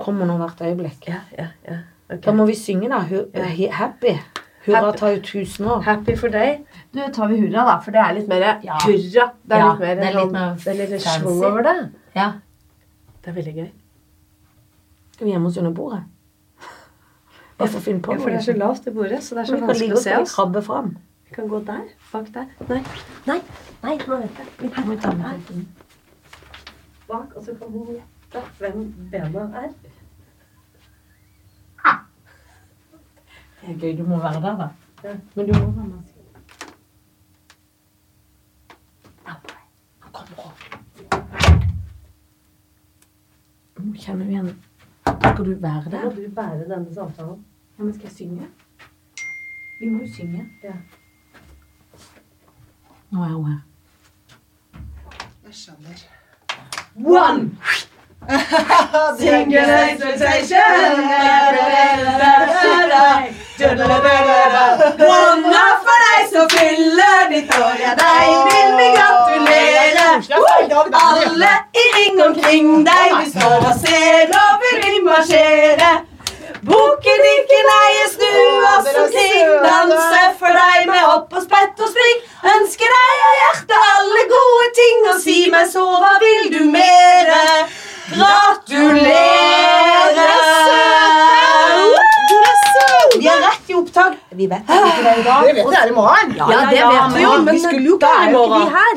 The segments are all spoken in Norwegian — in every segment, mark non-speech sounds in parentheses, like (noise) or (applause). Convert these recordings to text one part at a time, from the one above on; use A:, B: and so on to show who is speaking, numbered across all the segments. A: kommer nå hvert øyeblikk.
B: Ja, ja, ja. ok.
A: Da må vi synge, da. Hu
B: Ja.
A: he- happy. Hurra
B: Happy.
A: tar jo tusen år.
B: Happy for deg. Du tar vi hurra, da, for det er litt mer
C: Ja.
B: hurra. Det er
C: Ja,
B: litt mer,
C: det er litt
B: sånn-
C: mer
B: det er litt
C: fancy.
B: schwung over det.
C: Ja.
B: Det er veldig gøy.
A: Skal vi gjemme oss under bordet? Bare for å finne på
B: Ja, for det er så lavt i bordet, så det er så
A: vi kan ligge
B: vanskelig
A: og
B: å se
A: skal vi
B: oss.
A: krabbe fram.
B: Vi kan gå der, bak der. Nei, nei, nei, nå vent jeg. Vi
A: Må vi ta med
B: her,
A: den?
B: bak, og så kan hun gjette hvem bena er.
A: Det er gøy, du må være der, da.
B: Ja.
A: Men du må være med. Ja, han kommer opp. Nå kjenner vi igjen. Skal du være
B: Da
A: der?
B: må du bære denne samtalen.
A: Ja, men skal jeg synge? Vi må jo synge.
B: Ja.
A: Nå er hun her.
D: Jeg skjønner.
B: One!
D: Single
B: One er for deg som fyller ditt år, ja, deg vil vi gratulere. Alle i ring omkring deg, vi står og ser over, vi marsjere. Bukken ikke leie, snu oss omkring, danse for deg med hopp og spett og spring. Ønsker deg av hjertet alle gode ting, og si meg så, hva vil du mere? Gratulere! Vi er rett i opptak. Vi vet ikke det i dag.
D: Det vet dere i morgen.
B: Ja, det vet vi jo, men da er jo ikke vi her.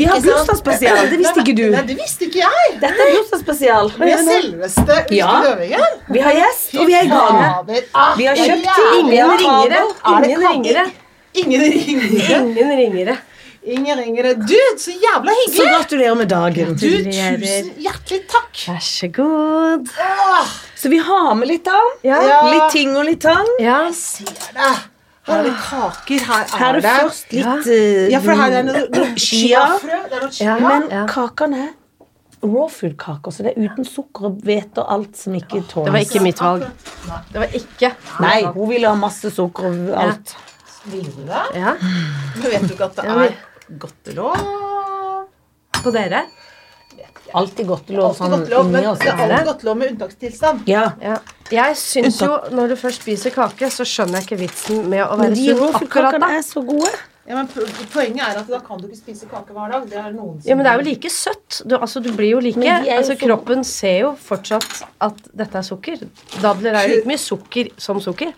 B: Vi har bursdagsspesial, det visste ikke du.
D: Nei, det visste ikke jeg.
B: Dette er bursdagsspesial.
D: Det er selveste Ulrikke
B: Ja.
D: Løvingen.
B: Vi har gjest, og vi er i gang.
D: Fader. Ah,
B: Vi har
D: det er
B: kjøpt
D: jævlig
B: ingen
D: kabel.
B: ringere.
D: Er det
B: Ingen
D: kabel?
B: ringere.
D: Ingen ringere.
B: Ingen ringere.
D: Ingen ringere. Dude, så
B: Så
D: jævla hyggelig.
B: gratulerer med dagen.
D: Du, tusen hjertelig takk.
B: Vær så god.
D: Åh,
B: Så vi har med litt av.
D: Ja.
B: Litt ting og litt tang.
D: jeg ser det. Her er det kaker.
B: Her
D: Her
B: er
D: er
B: det
D: det
B: først litt eh,
D: Ja, for her er det noe, noe
B: Chia.
D: chiafrø. Det er
B: Ja,
D: noe chia.
B: men
C: Ja.
B: kakene er raw food-kaker, så det er uten sukker og hvete og alt som ikke
C: Det var
B: tåles.
C: ikke mitt valg. Det var ikke
B: Nei, hun ville ha masse sukker og alt.
D: Ville du det?
C: Ja.
D: Men vet du ikke at det
C: men-
D: er godtelov?
C: På dere?
B: Alltid godt lov
D: Alltid
B: sånn
D: godtelov, men
B: inni oss.
D: det er alltid godtelov med unntakstilstand.
B: Ja.
C: Ja. Jeg syns jo, når du først spiser kake, så skjønner jeg ikke vitsen med å
B: Men
C: være
B: de
C: sulten akkurat da.
B: rofood-kakene er så gode.
D: Ja, men po- poenget er at da kan du ikke spise kake hver dag. Det er noen som
C: Ja, men det er jo like søtt. Du, altså, du blir jo like
B: Men de er jo
C: altså,
B: så-
C: Kroppen ser jo fortsatt at dette er sukker. Dadler er jo like mye sukker som sukker.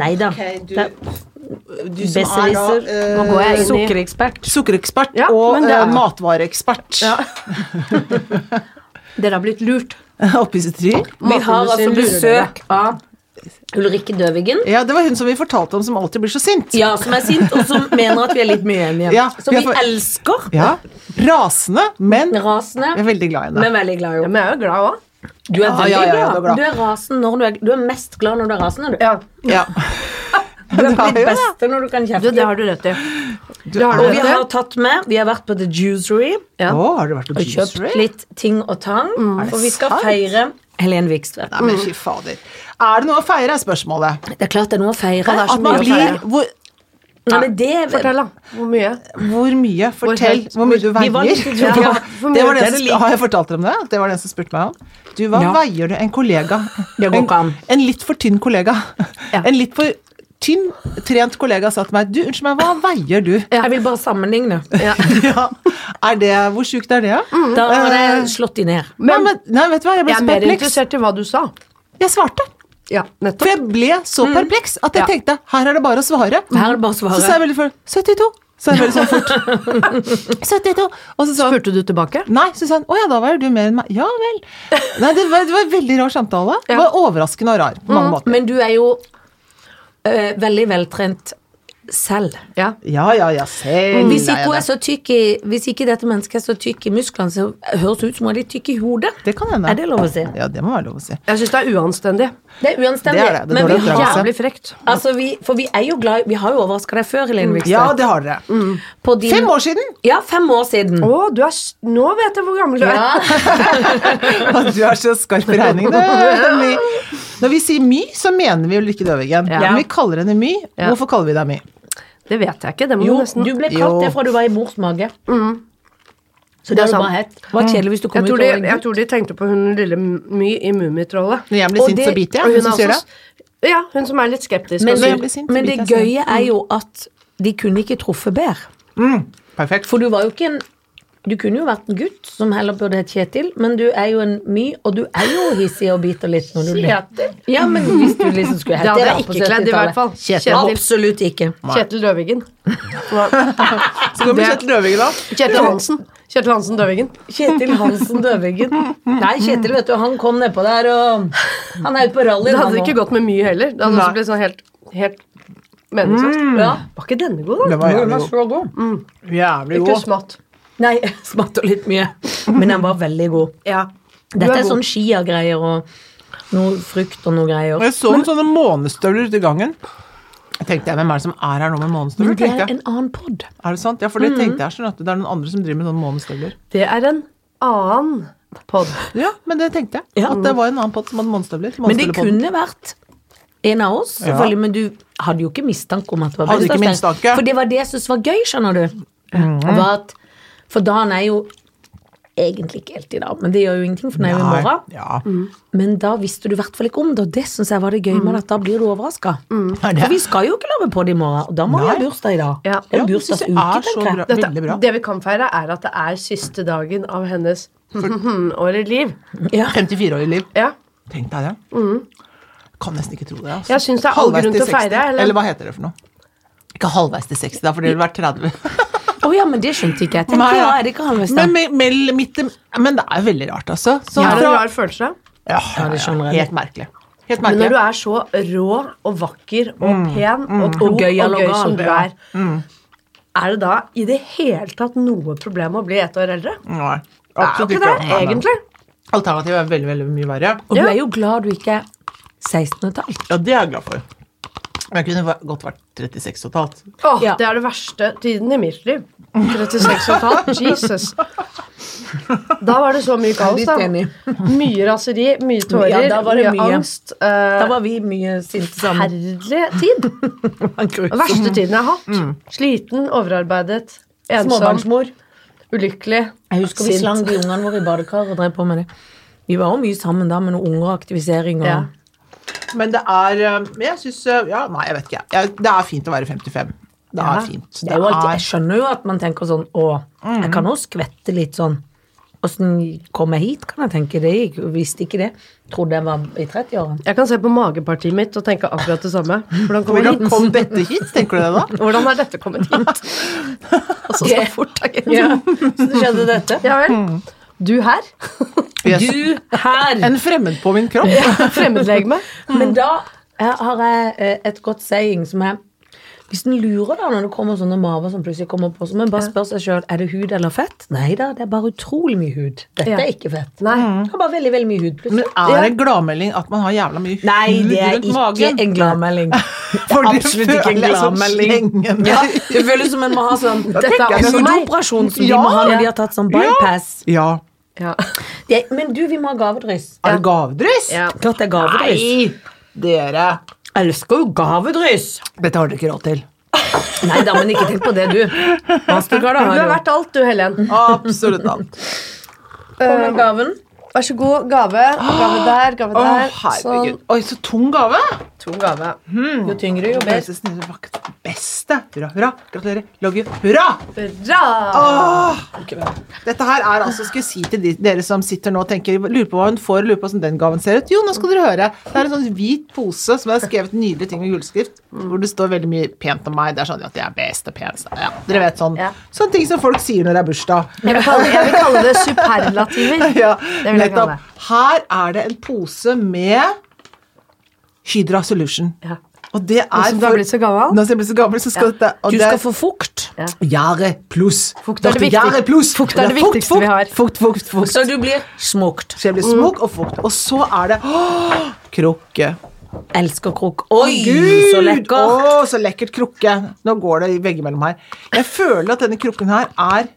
B: Nei da.
D: Ok, du,
B: Det er-
D: du som er da
B: Besserwisser.
D: eh,
C: Nå går jeg inn i
B: Sukkerekspert.
D: Sukkerekspert
C: Ja,
D: og
C: men det
D: eh,
C: er-
D: matvareekspert
C: Ja. Dere har blitt lurt.
D: (laughs) oppe i sitt tri.
A: Vi har altså
C: Matindustrien lurer
A: besøk av Ulrikke Døvigen.
D: Ja, det var hun som vi fortalte om som alltid blir så sint.
A: Ja, som er sint, og som mener at vi er litt mye enige.
D: Ja,
A: som
D: vi
A: vi
D: er for-
A: elsker.
D: Ja. Rasende, men jeg
A: Rasende,
D: er veldig glad i henne.
A: men veldig glad i
C: Ja,
A: henne.
C: men jeg er jo glad òg.
A: Du er
D: Ja,
A: veldig
D: ja, ja, du er glad.
A: glad. Du er, rasen når du, er, du er mest glad når du er rasende. Du,
C: Ja. (laughs)
D: Ja.
A: du er på
D: det er
A: ditt
D: jo det.
A: beste når du kan
C: Du,
A: kjefte.
C: det har du rett i.
D: Du, er
A: Og
D: det-
A: vi har tatt med Vi har vært på The Juicery
C: ja.
D: Å, har du vært på
A: og kjøpt
D: juicery? Mm.
A: litt ting og tang.
D: Er det
A: For vi skal
D: sant?
A: feire Helen Vikstvedt.
D: Nei, men fy fader. Er det noe å feire, er spørsmålet.
A: Det er klart det er noe å feire.
C: Ja, det er så
D: At man
C: mye å
D: blir
C: feire.
D: hvor,
A: Nei, men det,
C: Fortell, da. Hvor mye?
D: hvor mye? Fortell
C: høyt-
D: hvor mye du
A: Vi var
D: veier.
A: litt i tvil.
C: Ja. Hvor
D: Det
C: mye
D: var
C: er
D: den
C: det
D: som,
C: like?
D: har jeg fortalt dere om det? Det var den som spurte meg om. Du, hva
A: Ja.
D: veier du en kollega?
A: Det går
D: en,
A: ikke an.
D: en litt for tynn kollega.
C: Ja.
D: En litt for tynn, trent kollega sa til meg Du, unnskyld meg, hva veier du? (laughs)
A: Jeg vil bare sammenligne.
D: Ja. Er det, Hvor sjukt er det?
A: Da har jeg slått de ned.
D: Nei, men, nei, vet du hva, jeg ble
C: Jeg er
D: så
C: mer
D: perpleks.
C: interessert i hva du sa.
D: Jeg svarte.
C: Ja, nettopp.
D: For jeg ble så perpleks at jeg
C: Ja.
D: tenkte her er det bare å svare.
A: Her er det bare å svare.
D: Så sa jeg veldig fort 72. Sa jeg veldig sånn fort. 72. Og så sa hun
C: Spurte du tilbake?
D: Nei, så sa han, å ja, da var det du mer enn meg. Ja vel. Nei, det var, det var en veldig rar samtale. Det var overraskende og rar på mange måter.
A: Mm. Men du er jo eh, veldig veltrent selv.
C: Ja.
D: Ja, ja, ja, selv
A: Mm. Hvis
D: er
A: ikke, hun er
D: Mm, jeg det.
A: så tykk i, hvis ikke dette mennesket er så tykk i musklene, så høres det ut som hun er litt tykk i hodet.
D: Det kan hende.
A: Er det lov å si?
D: Ja, det må være lov å si.
C: Jeg syns det er uanstendig.
A: Det er uanstendig.
D: Det er det. Det er
A: men vi
D: dårlig
A: har,
D: oppdragelse.
C: Jævlig frekt.
A: altså vi, for vi er jo glad i- Vi har jo overraska deg før, Helene Vikstad.
D: Mm. Ja, det har dere.
A: På din-
D: Fem år siden!
A: Ja, fem år siden.
C: Å, du er s- Nå vet jeg hvor gammel du er.
A: Ja.
D: Og Du er så skarp i
A: (laughs)
D: regningen. du, My. Når vi sier My, så mener vi Ulrikke Døvigen.
C: Ja.
D: Når vi kaller henne My,
C: Ja.
D: hvorfor kaller vi deg My?
C: Det vet jeg ikke. Det må
A: Jo,
C: du nesten
A: du ble
D: Jo. Mm.
A: kalt det fra du var i mors mage. Så det har
C: er
A: du
C: sant.
A: bare hett. Det var kjedelig hvis du kom
C: Jeg
A: ut
C: tror,
A: og
C: de,
A: var en
C: jeg
A: gutt.
C: tror de tenkte på hun lille My i Mummitrollet.
D: Når jeg blir
C: Og
D: sint,
C: det-
D: så biter jeg.
C: og hun
D: Hun som
C: er
D: sier
C: også- Ja, hun som er litt skeptisk.
A: Men,
C: og
D: jeg
C: sur.
D: blir sint,
A: men
D: så
A: det
D: biter jeg Mm.
A: gøye er jo at de kunne ikke truffet bedre.
D: Perfekt.
A: For du var jo ikke en Du kunne jo vært en gutt som heller burde hett Kjetil, men du er jo en my, og du er jo hissig og biter litt når du ler. Ja, men hvis du liksom
C: (laughs)
A: skulle hett
C: Det hadde jeg
A: da på
C: ikke kledd, i
A: 70-tallet.
C: hvert fall.
A: Kjetil.
C: Kjetil.
A: Absolutt ikke.
C: Kjetil Døvigen.
D: Så kommer
C: det-
D: Kjetil Døvig, da.
C: Kjetil Hansen. Kjetil Hansen Døvigen.
A: Kjetil Hansen Døveggen. Nei, Kjetil, vet du, han kom nedpå der, og han er ute på rally.
C: Det
A: han
C: hadde
A: nå.
C: ikke gått med mye heller. Det hadde også blitt sånn helt, helt meningsløst.
A: Ja.
C: Var ikke denne god, da?
D: Den var jævlig god.
A: så god.
D: Jævlig
C: Ikke
D: god.
C: smatt.
A: Nei, (laughs) smatta litt mye, men han var veldig god.
C: Ja.
A: Dette er
C: god.
A: sånn Skia-greier og noe frukt og noe greier.
D: Og jeg så noen sånne månestøvler ute i gangen. Jeg tenkte jeg, Hvem er det som er her nå med månestøvler?
A: Men det
D: tenkte
A: er
D: jeg.
A: en annen pod.
D: Er det sant? Ja,
C: Mm.
D: for det tenkte jeg sånn at det er noen andre som driver med sånne månestøvler.
C: Det er en annen pod.
D: Ja, men det tenkte jeg.
A: Ja.
D: At det var en annen pott som hadde månestøvler.
A: Men det
D: Månestøvlepodden.
A: kunne vært en av oss,
D: Ja.
A: selvfølgelig, men du hadde jo ikke mistanke om at det var
D: Hadde ikke
A: bursdagstegn.
D: mistanke. Mhm.
A: For det var det jeg syntes var gøy, skjønner du. Var at, for Dan er jo egentlig ikke helt i dag, men det gjør jo ingenting, for den er jo i
D: Nei,
A: morgen.
D: Ja.
C: Mm.
A: Men da visste du i hvert fall ikke om det, og det syns jeg var det gøy med det, at da blir du overraska.
D: Mhm. Ja, det-
A: For vi skal jo ikke lage på det i morgen, og da må vi ha
D: Nei.
A: bursdag i dag.
C: Ja.
A: Det er
D: Ja,
A: en
D: det synes jeg
A: bursdagsuke,
D: er så
A: tenker jeg.
D: bra.
C: Dette,
D: Veldig bra.
C: det vi kan feire, er at det er siste dagen av hennes årige liv.
A: Ja.
D: 54 år i liv.
C: Ja.
D: Tenk deg det. Kan nesten ikke tro det. Altså.
C: Mm. Jeg synes det er all
D: Halvveis
C: grunn til å
D: 60,
C: feire, eller?
D: Eller? hva heter det for noe? Ikke halvveis til 60, da, for det ville
C: (laughs)
D: vært 30.
A: Å ja, men det skjønte ikke jeg. Tenk,
D: Nei,
A: ja,
D: ja.
A: er det ikke halvveis da?
D: men, me- mell- midt, i- men det er jo veldig rart, altså. Så,
C: Det er en
D: fra-
C: rar følelse.
D: ja,
A: Ja, det skjønner jeg.
D: Helt merkelig. Helt
C: Men når du
D: merkelig.
C: er så rå og vakker og pen og klok
A: Mm, Og
C: og
A: gøy
C: gøy,
A: og logal,
C: som du
A: ja. Mm.
C: er, er det da i det hele tatt noe problem å bli ett år eldre?
D: Nei,
C: Det er jo
D: absolutt
C: ikke det,
D: Nei, nei.
C: egentlig.
D: Alternativet er veldig, veldig mye verre.
A: Og du
C: Ja.
A: er jo glad du ikke er 16-tall.
D: Ja, det er jeg glad for. Men jeg kunne va- godt vært 36 og et halvt.
C: Åh,
A: Ja.
C: Det er det verste tiden i mitt liv. 36,5. Jesus. Da var det så mye kaos,
A: Jeg
C: da.
A: er litt
C: Mye raseri, mye tårer,
A: Ja, da var det
C: mye,
A: mye.
C: angst. eh,
A: Da var sånn- vi mye sinte sammen.
C: Forferdelig tid. Den
A: Mm.
C: Verste tiden jeg har hatt. Sliten, overarbeidet, ensom,
A: Småbarnsmor.
C: ulykkelig,
A: Jeg husker vi slang de ungene våre i badekar og drev på med det. Vi var jo mye sammen da, med noen unger og aktivisering og
C: Ja.
D: Men det er eh, Men jeg syns Ja, nei, jeg vet ikke. jeg. Jeg, det er fint å være 55. Det er
C: Ja,
D: fint.
A: det er jo alltid, Jeg skjønner jo at man tenker sånn Å, jeg kan jo skvette litt sånn. Åssen kom jeg hit, kan jeg tenke. Det gikk, visste ikke det. Trodde jeg var i 30-årene.
C: Jeg kan se på magepartiet mitt og tenke akkurat det samme. Hvordan kom jeg
D: Hvordan
C: hit?
D: kom dette hit, tenker du det da?
C: Hvordan har dette kommet
D: (laughs)
C: hit? Altså, så fort, takk.
A: Ja. Så det skjedde dette.
C: Ja vel.
D: Mm.
C: Du her?
D: Yes.
A: (laughs) Du her!
D: En fremmed på min kropp.
C: Fremmedlegeme?
A: Men da eh, har jeg eh, et godt saying som er Hvis en lurer da når det kommer sånne maver som plutselig kommer på, så må en bare spørre seg sjøl er det hud eller fett. Nei da, det er bare utrolig mye hud. Dette
C: Ja.
A: er ikke fett.
C: Nei.
D: Mm.
A: Det er bare veldig, veldig mye hud
D: Men
A: plutselig.
D: er det gladmelding at man har jævla mye hud
A: Nei, det er
D: rundt
A: ikke
D: magen?
A: en (laughs) gladmelding. Det er
D: For det
A: absolutt ikke en
D: føler jeg som
A: gladmelding.
D: slengende.
A: (laughs)
D: (laughs)
A: Ja, det føles som en må ha sånn Dette
C: tenker
A: er
C: jeg
A: også
C: som
A: en
C: meg.
A: operasjon som de
D: Ja.
A: må ha når de har tatt sånn bypass.
D: Ja.
C: Ja.
A: Det, men du, vi må ha gavedryss.
D: Er det gavedryss?
C: Ja.
A: Klart det er gavedryss.
D: Nei, dere.
A: Jeg elsker jo gavedryss.
D: Dette har dere ikke råd til.
A: Nei da, men ikke tenk på det, du. Mastercard
C: Du
A: har
C: har
A: jo.
C: vært alt, du, Helen.
D: Absolutt alt. Mm.
A: På med gaven.
C: Vær så god. Gave. Gave der, gave
D: Å,
C: der.
D: herregud.
C: sånn-
D: Oi, så tung gave.
C: Tung gave.
A: Jo tyngre, jo bedre.
D: Beste snille vakt. Beste. Hurra, hurra. Gratulerer. Love you. Hurra!
C: Bra!
D: Åh, dette her er altså, skal jeg si til de, dere som sitter nå og tenker, lurer på hva hun får, lurer på hvordan den gaven ser ut. Jo, nå skal dere høre. Det er en sånn hvit pose som jeg har skrevet nydelige ting med gullskrift,
C: Mm.
D: hvor det står veldig mye pent om meg. Det er sånn at jeg er best og penest. Ja, dere vet sånn.
C: Ja.
D: Sånne ting som folk sier når det er bursdag. (laughs)
C: Jeg vil kalle, jeg vil kalle det superlativer.
D: Ja,
C: Det vil jeg
D: nettopp.
C: kalle det.
D: Her er det en pose med Hydra Solution.
C: Ja.
D: Og det er
C: som du har blitt så gammel?
D: Nå som jeg blir så gammel, så skal dette og
A: Du
D: det-
A: skal få fukt,
C: Ja.
D: Gjære pluss.
C: Fukt er det
D: Dette
C: viktig-
D: gjære pluss.
C: fukt er det
D: Fukt,
C: viktigste vi
D: fukt,
C: har. Mm.
D: Fukt, fukt, fukt.
A: så du blir smukt.
D: Så jeg blir smokk og fukt. Og så er det åh, krukke.
A: Elsker krok. Oi,
D: Gud,
A: så lekker.
D: Å, så lekkert krukke. Nå går det veggimellom her. Jeg føler at denne krukken her er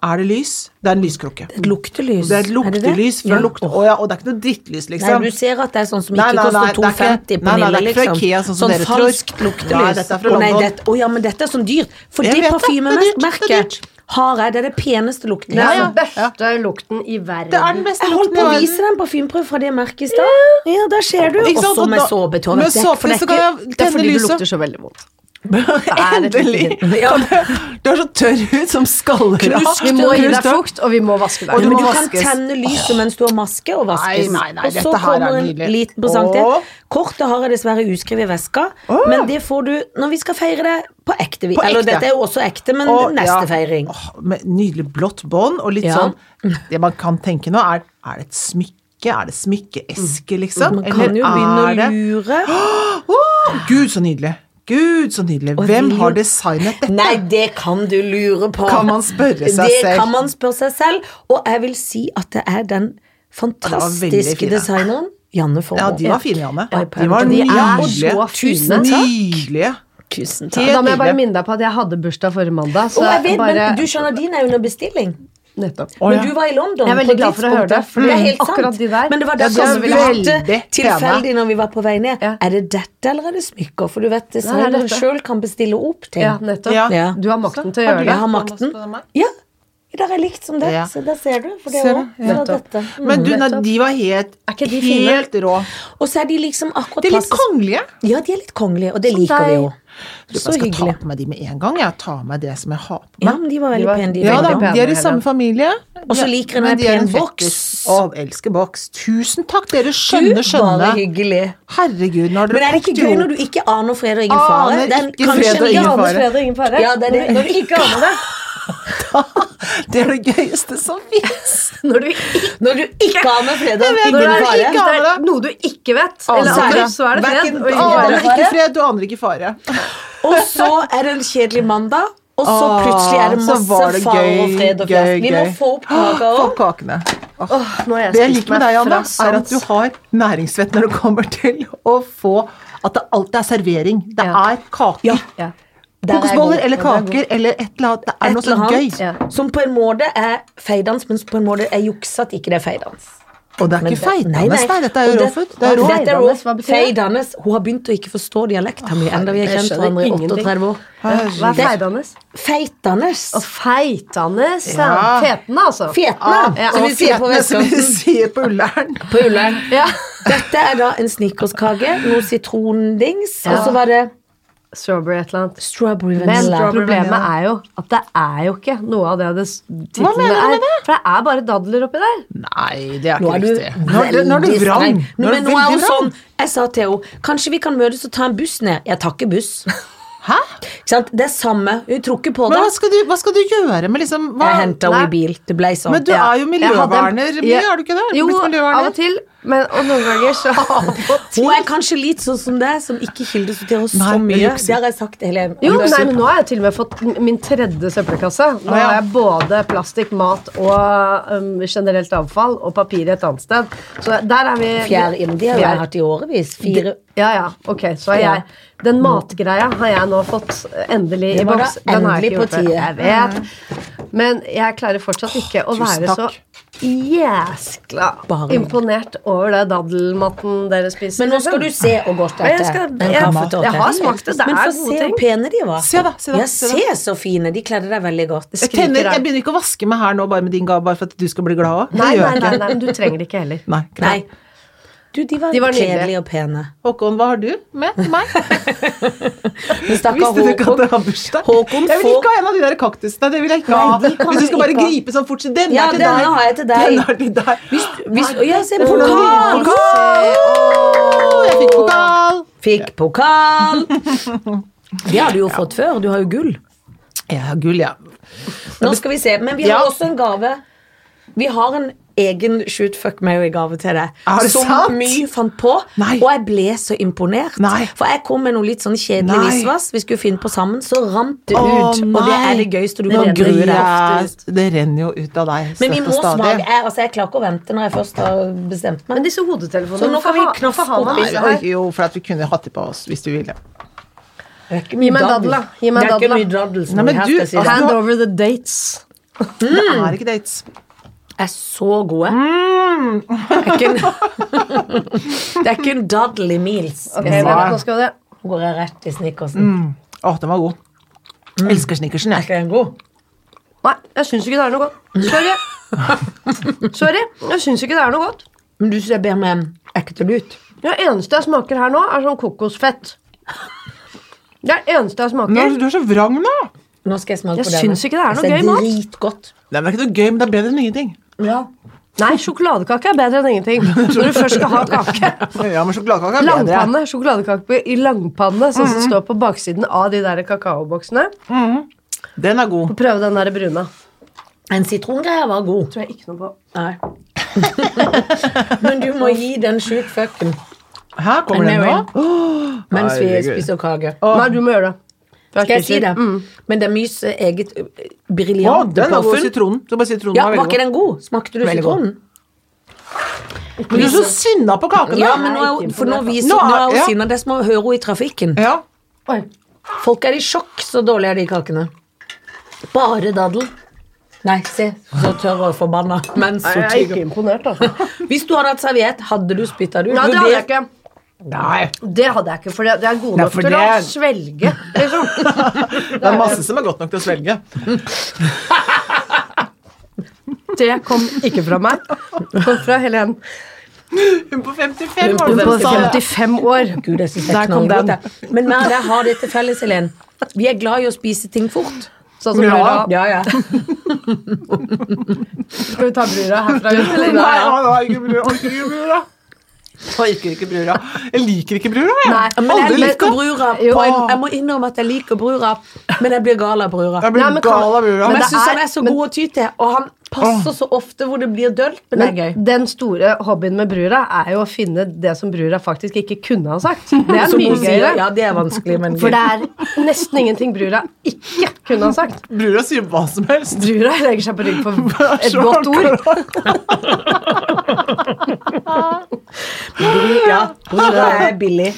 D: Er det lys? Det er en lyskrukke.
A: Et luktelys.
D: Det er et
A: det det?
D: luktelys fra
A: Ja.
D: lukt... Å ja, og det er ikke noe drittlys, liksom.
A: Nei, du ser at det er sånn som
D: Nei,
A: ikke
D: nei, nei,
A: koster
D: det er ikke-
A: 2,50 på
D: nei, nei,
A: Nille,
D: det er ikke fra
A: liksom.
D: IKEA, sånn som
A: sånn
D: dere tror.
A: falskt luktelys.
D: Nei, dette er fra
A: Å, nei,
D: London.
A: dette- å ja, men dette er sånn dyr. For
D: Jeg
A: det
D: vet det, det er dyrt, det er dyrt.
A: parfymemerket har jeg. Det er det peneste lukten. jeg
C: Det
A: har.
C: er den beste lukten i verden.
D: Det er den beste
A: Jeg holdt på
D: lukten i
A: å
D: verden.
A: vise deg en parfymeprøve fra det merket i stad. Ja, der ser du.
D: Ikke sant,
A: Også
D: og
A: med
D: da- med
A: såpetoalettdekk.
D: såpe
A: For det
D: så
A: er ikke
D: kan jeg
C: Det er
D: tenne
C: fordi du
D: lyset.
C: lukter så veldig vondt.
D: (laughs) Endelig.
A: Ja,
D: Du er så tørr ut som skallera.
C: Vi må gi deg fukt, og vi må vaske
D: Og
C: deg.
D: du
A: men
D: må
A: du kan
D: vaskes.
A: tenne lyset mens du har maske, og vaskes.
D: Nei, nei, nei,
A: og så
D: dette her er
A: kommer en
D: nydelig.
A: liten presang til.
D: Åh.
A: Kortet har jeg dessverre uskrevet i veska, men det får du når vi skal feire det på ekte. vis.
D: På
A: Eller
D: ekte.
A: dette er jo også ekte, men
D: Og-
A: neste
D: ja.
A: feiring.
D: Åh, med nydelig blått bånd og litt
A: Ja.
D: sånn Det man kan tenke nå, er er det et smykke? Er det smykkeeske, liksom?
A: Mm. Man kan jo begynne å lure.
D: Åh, Gud, så nydelig! Gud, så nydelig.
A: Og
D: Hvem
A: vil
D: har
A: jo-
D: designet dette?
A: Nei, det kan du lure på.
D: Kan man spørre seg
A: det
D: selv?
A: kan man spørre seg selv. Og jeg vil si at det er den
D: veldig
A: fantastiske
D: fine.
A: designeren Janne
D: Ja,
A: Formoe.
D: de var fine, Janne.
A: Ja,
D: De var
C: og de er
D: nydelige.
C: så fine.
D: Nydelige.
A: Tusen
D: Helt
A: takk.
C: Da må jeg bare
D: nydelig.
C: minne deg på at jeg hadde bursdag forrige mandag. Så
A: Og jeg vet,
C: bare,
A: men du skjønner, din er under bestilling.
C: nettopp.
D: Å, ja.
A: Men du var i London.
C: Jeg er veldig
A: på
C: glad for å høre det,
A: tidspunktet.
C: for
A: det er helt
C: akkurat
A: sant.
C: de der-
A: Men det var
C: Ja, de
A: derfor
C: er
A: vi
D: veldig
A: lurte
D: pene.
A: tilfeldig når vi var på vei ned.
C: Ja.
A: Er det dette, eller er det smykker? For du vet,
C: Nei, det er
A: designeren
C: dette.
A: sjøl kan bestille opp ting.
C: Ja, nettopp.
D: Ja.
A: Ja.
C: Du har makten til å
D: Har du
A: Jeg
C: gjøre det.
A: har
D: masse
A: makten.
D: på den her?
A: Ja, der er likt som det.
D: Ja.
A: Så der ser du. For det
D: Ser
A: er
D: du?
A: også fra
C: Nettopp.
A: dette. Mm.
D: Men du, nei,
C: nettopp.
D: de var helt,
C: Er ikke de fine?
D: helt rå.
A: Og så er de liksom akkurat
D: De er litt
A: passe-
D: kongelige.
A: Ja, de er litt kongelige, og det
C: Som
A: liker vi
C: deg.
A: jo.
D: Jeg
A: Så
D: skal ta
A: hyggelig.
D: på meg de med en gang. Jeg tar med det som jeg har på
A: Ja,
D: meg.
A: men de var
C: De
A: veldig
C: var-
A: pene, de
D: Ja,
A: begge
D: da,
A: to.
C: pene,
D: de er i
C: ja.
D: samme familie.
A: Og så
D: Ja,
A: liker hun
D: men
A: en
D: de er
A: pen
D: en fetter.
A: boks.
D: Å, elsker boks. Tusen takk, dere
A: Gud,
D: skjønne,
A: bare
D: skjønne.
A: hyggelig.
D: Herregud, nå har
A: Men
D: dere
A: er det ikke
D: kokt
A: gøy
D: jo-
A: når du ikke aner fred og ingen fare?
D: Aner
A: Den-
D: ikke
A: kanskje-
D: fred og ingen
A: Ja,
D: fare.
A: fred og ingen fare. Ja, det er det.
C: Når du ikke aner
D: (laughs)
C: det.
D: Det er det gøyeste som fins.
C: Når du ikke
A: Når du ikke aner fred og
D: vet
A: ingen
C: Når det er,
A: fare.
D: ikke
C: ikke, det
D: aner
C: er noe du ikke vet,
D: Aner
C: eller
D: ikke.
C: aner, så er det fred.
D: Verken-
C: Og ingen
D: aner
C: fare.
D: ikke fred, du aner ikke fare.
A: Og så er det en kjedelig mandag, og så
D: Åh,
A: plutselig er det
D: så
A: masse
D: var det
A: fare
D: gøy,
A: og fred og
D: gøy,
A: fjert. Vi må
D: gøy.
A: få opp kaka
D: Få
A: òg.
D: opp kakene. Åh.
C: Åh, nå har jeg
D: Det jeg
C: spist
D: liker med
C: meg
D: deg, Anne,
C: fra
D: er at du
C: sans.
D: har næringsvett når det kommer til å få At det alltid er servering. Det
C: Ja.
D: er kaker.
C: Ja.
A: Der er jeg
D: Kokosboller
A: god.
D: eller
A: Der er jeg
D: kaker eller et eller annet. Det er noe
A: Et eller
D: sånn gøy.
A: annet
C: Ja.
A: som på en måte er feidans, men som på en måte er juksa at ikke det er feidans.
D: Og det er
A: Men
D: ikke feitende, nei, nei. dette er
A: Og
D: jo
A: det-
D: raw food. Det er
A: og
D: rå.
A: dette er
C: Feidanes,
A: raw.
C: hva betyr det?
A: Feidanes. Hun har begynt å ikke forstå dialekta mi enda vi har
C: Jeg
A: kjent
C: skjønner
A: hverandre i
C: ingenting.
A: 38 år.
C: Hva er feidende?
A: Feitanes.
C: Og feitende ja.
D: Ja.
C: Fetende, altså.
A: Fetna,
C: Ja,
A: (laughs) som
D: Og
A: vi sier på
D: fetene som vi
A: vestkanten.
D: sier på Ullern.
A: På Ullern.
C: Ja.
A: Dette er da en snickerskake, noe sitrondings, og
C: Ja.
A: så var det
C: Strawberry et eller annet.
A: strawberry
C: Men
A: vanilla.
C: problemet
D: vanilla.
C: er jo at det er jo ikke noe av det det s- titlene
D: mener du
C: er.
D: med det?
C: For det er bare dadler oppi der.
D: Nei, det er
A: Nå
D: ikke
A: er du
D: riktig. Nå er du, nå er du
A: veldig
D: vrang.
A: streng.
D: Nå er
A: Men
D: du
A: nå er hun
D: veldig vrang.
A: sånn Jeg sa til henne kanskje vi kan møtes og ta en buss ned. Jeg tar ikke buss.
D: Hæ?
A: Ikke sant? Det er samme. Hun tror ikke på
D: Men
A: det.
D: hva skal, du, hva skal du gjøre med liksom hva?
A: Jeg henta henne
C: Nei.
A: i bil. Det ble sånn.
D: Men du
A: Ja.
D: er jo
C: Jeg hadde en-
D: miljøverner mye,
C: Ja.
D: er du ikke det? Er du
C: Jo,
D: blitt miljøverner?
C: av og til. Men, og noen ganger
D: (laughs)
C: så
A: Hun er kanskje litt sånn som deg, som ikke kildesorterer så
D: Nei, men
A: mye.
D: jukser.
A: Det har jeg sagt hele Det
C: Jo,
A: er
C: nei,
A: så-
C: men nå har jeg til og med fått m- min tredje søppelkasse. Nå
D: Å, ja.
C: har jeg både plastikk, mat og um, generelt avfall og papir et annet sted. Så der er vi
A: Fjær inn. De har jo
C: Fjær.
A: jeg hatt i årevis. Fire
C: Ja, ja, ok, så har
A: Ja.
C: jeg Den matgreia har jeg nå fått endelig i
A: Det var da
C: boks. Den har jeg
A: endelig
C: ikke gjort
A: på
C: før.
A: tide.
C: Jeg vet. Men jeg klarer fortsatt ikke å
D: tusen
C: være så
D: takk.
C: jæskla
A: Bare.
C: imponert over det daddelmatten dere spiser.
A: Men nå skal du se hvor godt
C: Ja, jeg
A: dette er.
C: skal-
A: Den
C: jeg-
A: kaffetårten.
C: jeg har smakt det. Det
A: Men
C: er
A: få
C: gode
A: se
C: ting.
A: hvor pene de var.
D: Se da, se da,
A: ja,
D: se da.
A: se så fine. De kledde deg veldig godt.
D: Jeg,
C: skriker
D: tenner,
C: her.
D: jeg begynner ikke å vaske meg her nå bare med din gave, bare for at du skal bli glad òg.
C: Nei, nei, nei, nei, men du trenger det ikke heller.
D: nei. greit.
A: Nei. Du, de var,
C: De var nydelige.
A: kledelige og pene.
D: Håkon, hva har du med
A: (laughs)
D: til meg?
A: Men (laughs) stakkar
D: Visste du ikke at
A: Håkon
D: det var bursdag?
A: Håkon
D: jeg vil
A: får-
D: ikke ha en av de der kaktusene. Det vil jeg ikke ha.
A: Nei, de kan
D: Hvis du
A: du
D: skal bare
A: ikke ha.
D: gripe sånn fort, så den
A: Ja,
D: er til
A: denne
D: deg.
A: har jeg til deg.
D: Den er til deg.
A: Hvis, Å, ja, se,
D: Det er for noen
A: pokal!
D: nye pokal. Å, Jeg fikk pokal.
A: Fikk (laughs) pokal! Det har du jo fått før. Du har jo gull.
D: Jeg har gull, ja.
A: Nå skal vi se. Men vi har
D: Ja.
A: også en gave. Vi har en egen Shoot Fuck Mary-gave til deg.
D: Er det
A: som
D: sant?
A: My fant på,
D: Nei.
A: og jeg ble så imponert.
D: Nei.
A: For jeg kom med noe litt sånn kjedelig
D: Nei.
A: visvas. Vi skulle finne på sammen, så rant det
D: Å,
A: ut. Og det
D: nei.
A: er det gøyeste du
D: Nå
A: kan grue deg
D: greier
A: ofte.
D: jeg- Det renner jo ut av deg.
A: Men vi
D: støtt
A: må
D: og stadig.
A: smake. Jeg, altså, jeg klarer ikke å vente når jeg først har bestemt meg.
C: Men disse hodetelefonene
A: Så nå kan vi
C: hvorfor ha- hvorfor har
A: knaffe opp i
C: man
D: Nei, vi
C: disse
A: det
C: her?
D: orker jo, for at vi kunne hatt det på oss hvis du ville.
A: Mm. Gi
C: meg dadler, da. Gi meg
A: det er ikke
C: dadler.
A: mye dadler. som
D: Nei, men
A: er her,
D: du-
A: skal jeg si deg.
C: Hand over the dates.
D: Det er ikke dates.
A: er så gode.
D: Mm.
A: Det, er ikke en, (laughs) det er ikke en daddel i mils. skal
C: Ok,
A: jeg si
C: vent,
A: deg.
C: nå skal vi det.
A: Nå går jeg rett i snickersen.
D: Mm. Å, den var god. Elsker snickersen,
A: Er
D: jeg.
A: ikke den god?
C: Nei, jeg syns ikke det er noe godt. Sorry.
A: (laughs)
C: Sorry. Jeg syns ikke det er noe godt.
A: Men du syns jeg ber med ekte lut?
C: Det eneste jeg smaker her nå, er sånn kokosfett. Det er det eneste jeg
D: Nå,
C: smaker.
D: du er så vrang nå!
A: Nå skal jeg smake
C: Jeg
A: på denne.
C: syns ikke det er noe
A: ser
C: gøy mat.
A: Dritgodt.
D: Det er ikke noe gøy, men det er bedre enn ingenting.
A: Ja.
C: Nei, sjokoladekake er bedre enn ingenting. Når du først skal ha kake.
D: Ja, men sjokoladekake er bedre.
C: Langpanne. Sjokoladekake i langpanne, sånn som det står på baksiden av de der kakaoboksene.
D: Den er god.
C: Prøv den der brune.
A: En sitrongreie var god.
C: Tror jeg ikke noe på.
A: Nei. (laughs) Men du må gi den sjukt fucken
D: Her kommer den
A: Mary.
D: nå.
A: mens vi
D: Herregud.
A: spiser kake.
C: Nei, du må gjøre det. Mm. For
A: Skal jeg si
C: spiser-
A: det? Men det er mys eh, eget eh,
D: Å,
A: briljante
D: den er god.
A: påfunn.
D: Sitronen. Du bare sitronen
A: Ja,
D: var
A: var
D: veldig
A: ikke
D: god.
A: den god? Smakte du
D: Veldig god.
A: sitronen?
D: Men du er så sinna på kaken
A: Ja,
D: nå!
A: men nå er, hun- for nå viser
D: Nå er-
A: nå er hun
D: ja.
A: sinna. Det er som å høre henne i trafikken.
D: Ja.
C: Oi.
A: Folk er i sjokk, så dårlig er de kakene. Bare daddel. Nei, se, så tørr og forbanna. Men så
C: Nei, Jeg er
A: tygg.
C: ikke imponert, altså.
A: Hvis du hadde hatt serviett, hadde du spytta det ut?
C: Nei, det hadde jeg ikke.
D: Nei.
C: Det hadde jeg ikke, for det det er gode
D: Nei,
C: nok
D: for
C: til å
D: det-
C: svelge. Liksom.
D: Det er masse som er godt nok til å svelge.
C: Det kom ikke fra meg. Det kom fra Helen.
D: Hun på 55 var
C: Hun
D: det
C: på
D: som sa det.
C: 55 år.
A: Gud, jeg synes det
C: Der
A: er
C: kom
A: knallgodt.
C: den.
A: jeg. Men vi det har det til felles, Helen. Vi er glad i å spise ting fort.
C: Sånn som
D: Ja.
C: brura.
A: ja.
C: Skal vi ta brura herfra ut,
D: Nei,
C: eller?
D: ja, det var ikke brura. Orker ikke brura. Orker ikke brura. Jeg liker ikke brura, jeg.
C: Nei,
A: Men jeg
D: Aldri likt
A: liker
D: det.
A: brura.
C: Jo.
A: På en, jeg må innrømme at jeg liker brura, men jeg blir gal av brura.
D: Jeg
C: Nei,
D: blir
C: men kan-
D: gal av brura.
A: Men
C: men det
A: jeg syns
C: er-
A: han er så god å ty til, og han passer så ofte hvor det blir dølt, men det er gøy.
C: Men den store hobbyen med brura er jo å finne det som brura faktisk ikke kunne ha sagt. Det er
A: Som
C: mye
A: hun sier,
C: gøyere.
A: ja, det er vanskelig, men
C: For
A: gøy.
C: det er nesten ingenting brura ikke kunne ha sagt.
D: Brura sier hva som helst.
C: Brura legger seg på rygg for
D: Det er
C: et
D: (laughs) så
C: godt ord.
D: akkurat.
A: Ja, brura er billig.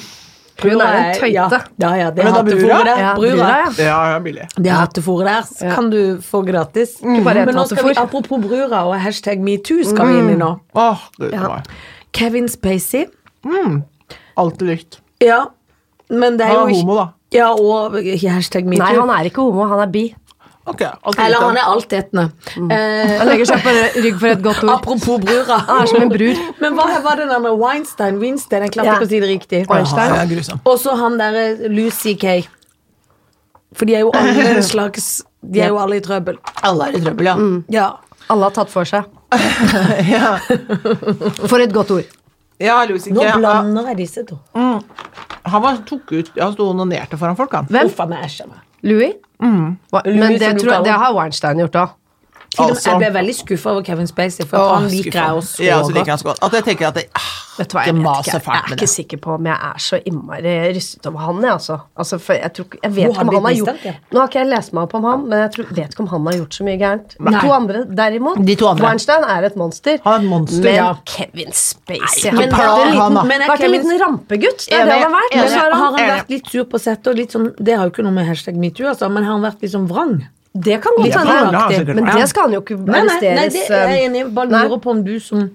C: Hun er en tøyte.
A: Ja, ja, ja det
D: Men
A: er
D: da
A: hattefòret
D: brura?
A: der.
C: Ja,
A: brura.
C: brura, ja.
D: Ja, ja, billig.
A: Det hattefòret der s- kan du få gratis.
C: bare altså, et
A: Men nå skal vi,
C: hattefôr.
A: apropos brura og hashtag metoo skal
C: Mm.
A: vi inn i nå.
D: Åh, gud
C: Ja.
D: meg.
A: Kevin Spacey.
D: Alltid lykt.
A: Ja, men det er jo
D: Han er
A: ikke-
D: homo, da.
A: Ja, og hashtag metoo.
C: Nei, han er ikke homo, han er bi.
D: Ok, alltid
A: Eller
D: lykt.
A: han er altetende.
C: Mm.
A: Eh,
C: (laughs) Han legger seg på rygg for et godt ord.
A: apropos
C: (laughs)
A: brura.
C: Han er som en brur.
A: Men hva var den andre Weinstein? Weinstein, jeg klarte
C: Ja.
A: ikke å si det riktig.
D: Ja, han er grusom.
A: Og så han derre Lucy Kay. For de er jo alle en
C: (laughs)
A: slags De er jo alle i trøbbel.
D: Alle er i trøbbel, ja.
C: Mm.
A: Ja.
C: Alle har tatt for seg.
D: (laughs) Ja,
C: For et godt ord.
D: ja Louis
A: Nå
D: ikke. Han,
A: blander jeg disse to.
D: han var, tok ut, ja, han sto og onanerte foran folk, han.
C: Hvem?
A: Uff a meg, æsj a meg.
C: Louis? Hva-
A: Mm. Louis,
C: Men det,
A: som du
C: tror,
A: kaller
C: jeg- det
A: han.
C: har Weinstein gjort òg.
A: Til og med-
D: Altså.
A: Jeg ble veldig skuffa over Kevin Spacey, for
D: Åh,
A: han liker
D: skuffa.
A: jeg også så
D: Ja, så liker
A: godt.
D: han så godt. At jeg tenker at det, ah,
C: Vet du hva,
D: Ikke
C: jeg,
D: mas
C: vet ikke,
D: så fælt
C: jeg er
D: med
C: ikke
D: det.
C: sikker på om jeg er så innmari rystet over han, jeg, altså. altså for jeg, tror, ikke- jeg vet
A: Du
C: ikke
A: har
C: om han har
A: blitt
C: gjort
A: mistenkt, ja.
C: Nå har ikke jeg lest meg opp om han, men jeg tror, vet ikke om han har gjort så mye gærent.
A: Nei.
C: To andre, derimot.
D: De to andre.
C: Weinstein er et monster.
D: Han er et monster,
C: men
D: ja.
C: Kevin Spacey
A: Men,
C: han
D: plan,
A: er det
C: har vært en
A: en
D: han,
A: liten,
D: da.
C: liten,
A: men er
C: vært en
A: Kevin-
C: liten rampegutt. Det er det
D: Enig,
C: han har vært. Men
A: men
C: så har
A: har
C: han,
A: han vært litt sur på settet, og litt sånn Det har jo ikke noe med hashtag metoo, altså, men har han vært litt sånn vrang?
C: det kan godt
A: Litt
C: hende.
D: vrang, ja, sikkert.
C: Men
D: Ja.
C: det skal han jo ikke
A: Nei, nei, nei det er jeg
C: arresteres
A: enig i. Bare
C: Nei.
A: lurer på om du som
C: um,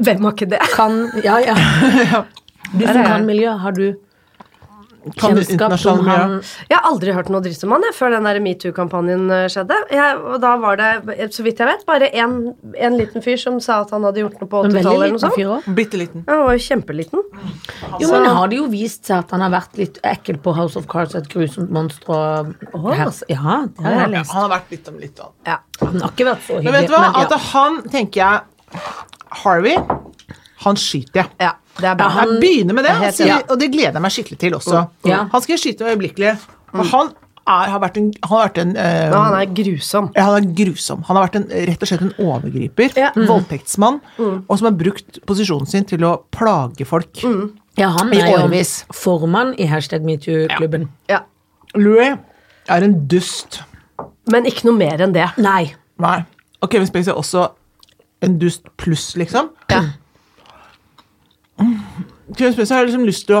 C: Hvem har ikke det?
A: kan Ja, (laughs) ja. Du
C: Der er
A: som kan
C: jeg.
A: miljø, har du
D: kan
A: kjennskap
D: du
A: om
D: internasjonal miljø?
A: han
C: Jeg har aldri hørt noe dritt om han jeg, før den der metoo-kampanjen eh, skjedde. Jeg, og da var det, eh, så vidt jeg vet, bare en, en liten fyr som sa at han hadde gjort noe på
A: En
C: 80-tallet
A: veldig
C: eller noe
A: liten
C: sånt.
A: fyr òg.
D: Bitte liten.
C: Ja, Han var jo kjempeliten.
A: Jo, men har det jo vist seg at han har vært litt ekkel på House of Cards, et grusomt monster og her, Ja, det har jeg
D: Ja,
A: lest.
D: han har vært litt om litt. da.
C: Ja.
A: Han har ikke vært så hyggelig.
D: Men vet du hva?
A: men ja.
D: At han, tenker jeg Harvey, han skyter jeg.
C: ja, det er bra.
A: Ja, han-
D: jeg begynner med det,
A: er helt
D: altså,
A: enig.
D: og det gleder jeg meg skikkelig til også.
A: Ja.
D: Han skal jeg skyte øyeblikkelig. Og han er, har vært en, han har vært en eh,
C: Og han er grusom.
D: ja, han er grusom. Han har vært en, rett og slett en overgriper,
C: Ja.
A: Mm.
D: voldtektsmann, og som har brukt posisjonen sin til å plage folk.
A: ja, han
D: I
A: er jo
D: årevis.
A: formann i hashtag metoo-klubben.
C: Ja.
D: Louis er en dust.
C: Men ikke noe mer enn det.
A: Nei.
D: Nei. Og Kevin Spacey er også en dust pluss, liksom.
C: Ja.
D: Kevin Spacey har liksom lyst til å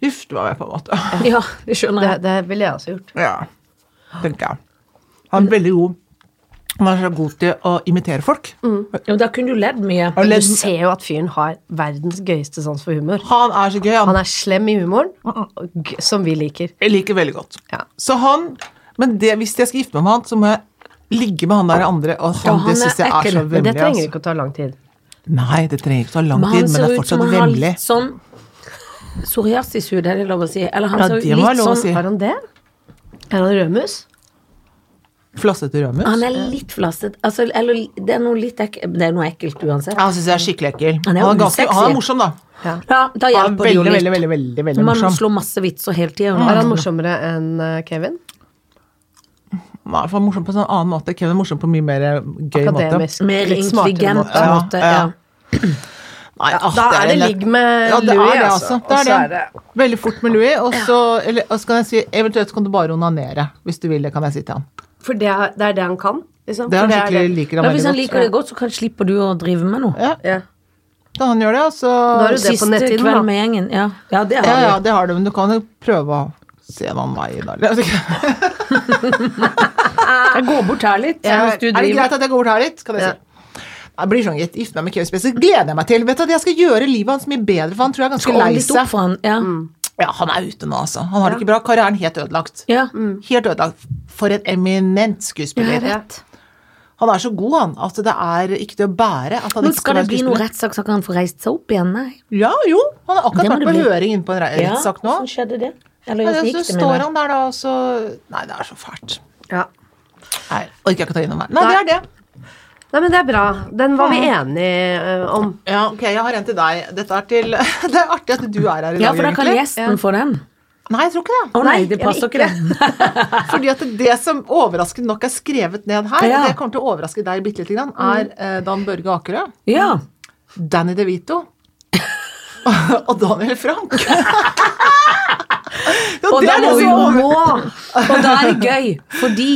D: gifte meg, på en måte.
A: Ja, det skjønner
C: Det,
A: jeg.
C: det ville jeg også gjort.
D: Ja, tenker jeg. Han er veldig god. Han er så god til å imitere folk.
A: Jo, da kunne du ledd mye.
D: Og
C: Du
D: ledd-
C: ser jo at fyren har verdens gøyeste sans for humor.
D: Han er så gøy. Han,
C: Han er slem i humoren, og g- som vi liker.
D: Jeg liker veldig godt.
C: Ja.
D: Så han Men det, hvis jeg skal gifte meg med han, så må jeg ligge med han der andre, og
A: Ja,
D: han,
A: han
D: det
A: er
D: syns jeg er
A: ekkel,
D: så
A: men
C: Men
D: vemmelig.
C: det trenger
D: altså.
C: ikke å ta lang tid.
D: Nei, det trenger ikke ta lang
A: Men
D: tid,
A: han
D: men
A: ser
D: det er
A: ut som
D: fortsatt
A: han har
D: vemmelig.
A: litt sånn psoriasishud, er det lov å si? Eller han
D: Ja,
A: ser
D: det
A: jo
D: må
A: litt
D: være lov å
A: sånn
D: si.
C: Har han det? Er han rødmus?
D: Flossete rødmus.
A: Han er litt flasset. Altså, eller det er noe litt ekkelt Det er noe ekkelt uansett.
D: Ja, Han syns jeg er skikkelig ekkel.
A: Han
D: Han
A: er
D: er,
A: jo
D: ganske,
A: usexy.
D: han er morsom, da.
A: Ja, da
D: Han er
A: hjelper det jo
D: veldig, veldig,
A: litt.
D: veldig, veldig, veldig
A: Man
D: morsom. Mm.
A: slår masse vitser hele tida.
C: Er han morsommere enn eh, Kevin?
D: Han er morsom på en sånn annen måte. Kevin er morsom på en mye mer gøy måte.
C: Akademisk.
A: Mer
C: litt smartere
A: intelligent på
C: måte.
A: en
D: Ja,
A: måte.
D: ja.
A: Ja.
D: Nei, ah,
C: Da er det
D: en lett-
C: ligg med
D: Ja, det
C: Louis,
D: er det,
C: altså.
D: altså. Det
C: Og så er
D: er det. Veldig fort med Louis, og så eller, og så kan jeg si eventuelt kan du bare onanere. Hvis du vil det, kan jeg si til han.
C: For det er, det er det han kan? Liksom.
D: Det er
C: For
D: han skikkelig liker
A: Men
D: han
A: hvis han
D: veldig godt.
A: liker det godt, så kan slipper du å drive med noe.
D: Ja,
C: Ja.
D: da han gjør det, og så
C: Da har du det på
A: Siste
C: netthinnen, da.
A: kveld med gjengen. Ja, ja det
D: Ja,
A: har
D: ja,
A: du.
D: det har du, men du kan jo prøve å se noen vei i dag. Er det
A: Jeg går bort her litt. mens du driver.
D: greit at jeg går bort her litt? Kan jeg si. Jeg blir sånn gitt. Gifte meg med Kevin Spacey. Gleder jeg meg til. Vet du, at Jeg skal gjøre livet hans mye bedre, for han tror jeg er ganske
A: Skål
D: lei
A: litt opp
D: seg. Mm.
A: for han. Ja.
D: Ja, han er ute nå, altså. Han har det ikke bra. Karrieren helt ødelagt.
A: Ja.
D: Mm. Helt ødelagt. For en eminent skuespiller. Han er så god, han, at det er ikke til å bære at han
A: Men
D: ikke
A: skal det
D: være
A: bli noe
D: skuespiller.
A: rettssak så kan han få reist seg opp igjen? Nei.
D: Ja, jo. Han har
A: Det må
D: akkurat vært
A: det
D: på
A: bli.
D: høring inne på en re-
A: Ja,
D: rettssak nå.
A: Hvordan skjedde det? Eller
D: Ja,
A: hvordan
D: så
A: gikk det
D: står
A: med det?
D: han der, da, og så Nei, det er så fælt.
C: Ja.
D: Nei, orker jeg ikke å ta innom meg. Nei, det
C: Nei.
D: er det.
C: Nei, men det er bra. Den var vi enige eh, om.
D: Ja, ok, jeg har en til deg. Dette er til (laughs) Det er artig at du er her i dag,
A: Ja, for da kan
D: egentlig.
A: gjesten få den.
D: Nei, jeg tror ikke det.
A: Å nei,
C: Nei,
A: det
C: eller
A: passer ikke, det.
D: Fordi at det som overraskende nok er skrevet ned her,
A: Ja. Mm.
D: og det kommer til å overraske deg bitte lite grann, er eh, Dan Børge Akerø,
A: Ja.
D: Danny DeVito og
A: (laughs)
D: Daniel Frank. ja,
A: Og
D: det
A: da,
D: er det
A: må vi,
D: som over...
A: må, og da er det gøy, fordi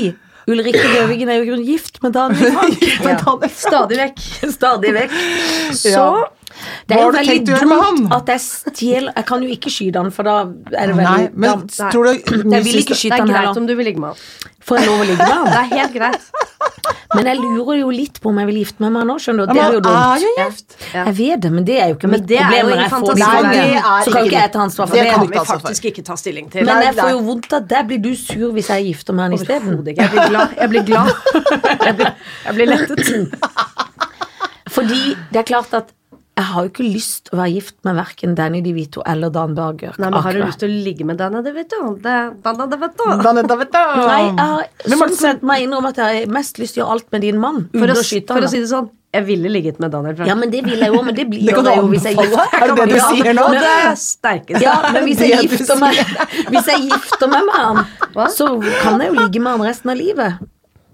A: Ulrikke Løvigen er jo i grunnen gift med (laughs) Daniel Frank.
D: Men Daniel Frank.
C: Stadig vekk.
A: Stadig vekk. Så
D: Ja.
A: Det er
D: Hva
A: jo
D: har du
A: veldig
D: tenkt å gjøre med
A: dumt
D: han?
A: at jeg stjeler Jeg kan jo ikke skyte han, for da er det veldig
D: Nei, men
A: dumt.
D: tror du
A: Jeg vil ikke
C: Det
A: skyte
C: er
A: han
C: greit
A: heller.
C: om du vil ligge med han.
A: Får jeg lov å ligge med han?
C: Det er helt greit.
A: Men jeg lurer jo litt på om jeg vil gifte meg med han nå, skjønner du. og Det
D: Han
A: blir jo
D: er
A: dumt.
D: jo gift.
C: Ja.
A: Jeg vet det, men det er jo ikke
C: Men
A: mitt
C: det er
A: problem
C: jo
A: når
C: en
A: jeg får
C: fantasi.
A: den.
C: Nei, det
D: er
A: Så kan
D: ikke
A: ikke jeg
D: det.
A: ta ansvar for
D: Det
A: det.
D: kan
C: kan
D: vi
C: vi
D: ta
C: faktisk ikke ta stilling til.
A: Men jeg
D: Nei,
A: får
D: nei.
A: jo vondt av deg. Blir du sur hvis jeg gifter meg med han isteden?
C: Overhodet ikke. Jeg blir glad. Jeg blir glad. Jeg blir, jeg blir lettet.
A: Fordi det er klart at jeg har jo ikke lyst til å være gift med verken Danny DeVito eller Dan Berger.
C: Nei, men har du
A: akkurat.
C: lyst til å ligge med Dana DeVito? Det- Dana DeVito.
D: Daniel DeVito.
A: Nei, jeg har
D: Hvem er det
A: sånn
D: som-
A: sett må jeg innrømme at jeg har mest lyst til å gjøre alt med din mann.
C: For
A: uten
C: å,
A: å skyte
C: for
A: han,
C: å si
A: da.
C: det sånn, jeg ville ligget med Daniel Frank.
A: Ja, men det vil jeg jo, men det blir
D: Det kan
A: jeg jo
D: du
A: hvis jeg
D: anbefale?
A: gifter
D: Er det det du
A: Ja,
D: sier nå?
A: men-
C: Og det er sterkeste.
A: Ja, men hvis jeg,
D: Det du
A: gifter meg, (laughs) hvis jeg gifter meg med han, så kan jeg jo ligge med han resten av livet.